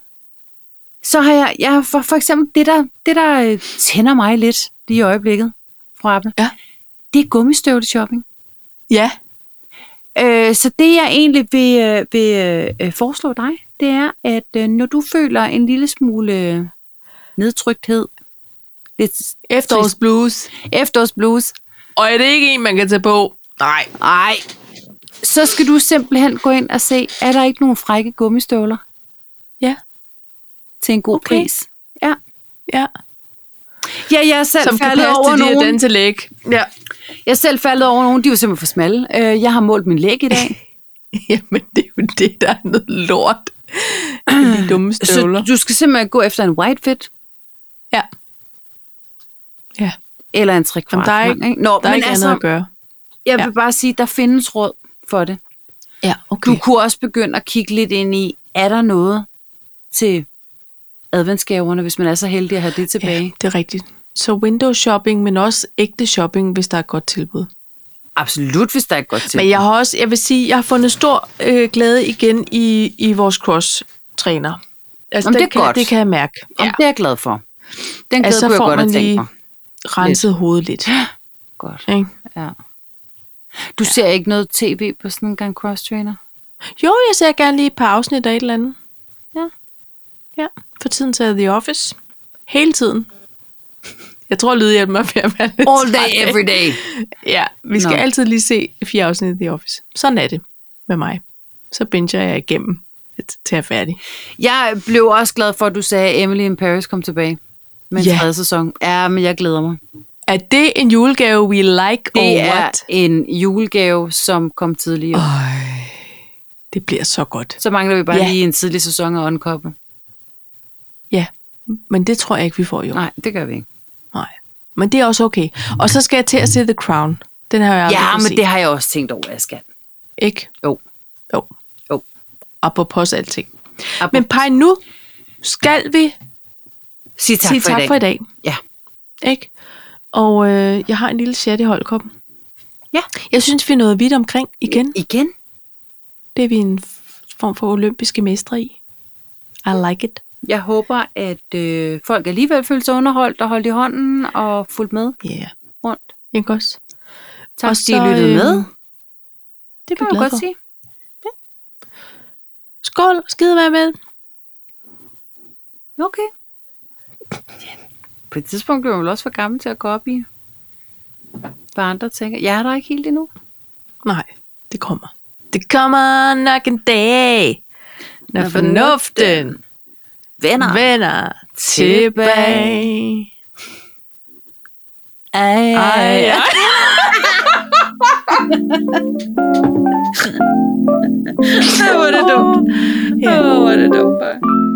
B: så har jeg, jeg har for, for eksempel det der, det, der øh, tænder mig lidt lige i øjeblikket, fru Apple,
A: Ja.
B: det er gummistøvle-shopping.
A: ja,
B: Øh, så det jeg egentlig vil, øh, vil øh, øh, foreslå dig, det er, at øh, når du føler en lille smule øh, nedtrykthed, lidt
A: efterårsblues.
B: efterårsblues,
A: Og er det ikke en, man kan tage på? Nej. Ah.
B: ej, så skal du simpelthen gå ind og se, er der ikke nogen frække gummistøvler
A: Ja,
B: til en god
A: Okay.
B: okay. pris? Ja.
A: ja.
B: ja, jeg er selv
A: Som kan
B: faldet
A: passe
B: over
A: til de
B: nogen.
A: den til læg. Ja.
B: Jeg er selv faldet over nogen, de var simpelthen for smalle. Øh, jeg har målt min læg i dag.
A: <laughs> Jamen, det er jo det, der er noget lort. <clears throat> De dumme støvler.
B: Så du skal simpelthen gå efter en white fit.
A: Ja. Ja,
B: Eller en
A: Jamen,
B: trekvart.
A: der er
B: lang,
A: ikke-
B: Nå,
A: der er
B: men
A: ikke
B: altså,
A: andet at gøre.
B: Jeg
A: Ja.
B: vil bare sige, der findes råd for det.
A: Ja,
B: Du kunne også begynde at kigge lidt ind i, er der noget til adventsgaverne, hvis man er så heldig at have det tilbage?
A: Ja, det er rigtigt. Så window shopping, men også ægte shopping, hvis der er et godt tilbud.
B: Absolut, hvis der er et godt til.
A: Men jeg har også, jeg vil sige, jeg har fundet stor øh, glæde igen i, i vores cross-træner. Altså,
B: Jamen,
A: den
B: det er
A: kan,
B: godt.
A: Det kan jeg mærke.
B: Om det er jeg glad for. Den glæde
A: Altså,
B: altså,
A: så
B: kunne
A: får
B: jeg godt
A: man
B: have tænkt
A: lige
B: mig.
A: renset hovedet lidt.
B: Godt.
A: Ikke?
B: Ja. Du ja. ser ikke noget tv på sådan en gang <laughs> cross-trainer?
A: Jo, jeg ser gerne lige et par afsnit af et eller andet.
B: Ja.
A: Ja, for tiden tager jeg The Office. Hele tiden. Jeg tror, lydhjælpen mig ved at være lidt
B: All day,
A: træt af.
B: every day.
A: Ja, vi skal
B: Nå.
A: Nå. altid lige se fire afsnit af The Office. Sådan er det med mig. Så binger jeg igennem til jeg er færdig.
B: Jeg blev også glad for, at du sagde, at Emily in Paris kom tilbage med en
A: Ja.
B: ja. tredje sæson. Ja, men jeg glæder mig.
A: Er det en julegave, we like or
B: Det er
A: what?
B: en julegave, som kom tidligere.
A: Øj, det bliver så godt.
B: Så mangler vi bare
A: Ja.
B: ja. lige en tidlig sæson at unkoble.
A: Ja, men det tror jeg ikke, vi får jo.
B: Nej, det gør vi ikke.
A: Nej. Men det er også okay. Og så skal jeg til at se The Crown. Den har jeg aldrig
B: Ja,
A: fået
B: men
A: set.
B: det har jeg også tænkt over, jeg skal.
A: Ikke?
B: Jo.
A: Jo.
B: Jo.
A: Apropos alting.
B: Apropos.
A: Men pej nu skal vi
B: Sig tak,
A: sige
B: for, i dag.
A: tak for i dag.
B: Ja.
A: Ikke? Og øh, jeg har en lille chat i holdkoppen.
B: Ja.
A: Jeg synes, vi er noget vidt omkring igen.
B: Igen?
A: Det er vi en f- form for olympiske mestre i. I like it.
B: Jeg håber, at øh, folk alligevel føler sig underholdt og holdt i hånden og fulgt med
A: Yeah.
B: rundt.
A: Ikke også?
B: Tak,
A: Og
B: fordi I
A: så,
B: lyttede
A: øh,
B: med.
A: Det
B: Det kan
A: er vi
B: jeg
A: glade
B: godt
A: for.
B: sige.
A: Skål, skide være med.
B: Okay. På et tidspunkt blev jeg vel også for gammel til at gå op i, hvad andre tænker. Jeg er der ikke helt endnu.
A: Nej, det kommer. Det kommer nok en dag, når,
B: Når
A: fornuften
B: Venner.
A: vender tilbage.
B: Ej,
A: Ej, <laughs> ej.
B: Hvor er det dumt. Hvor er det dumt, bare.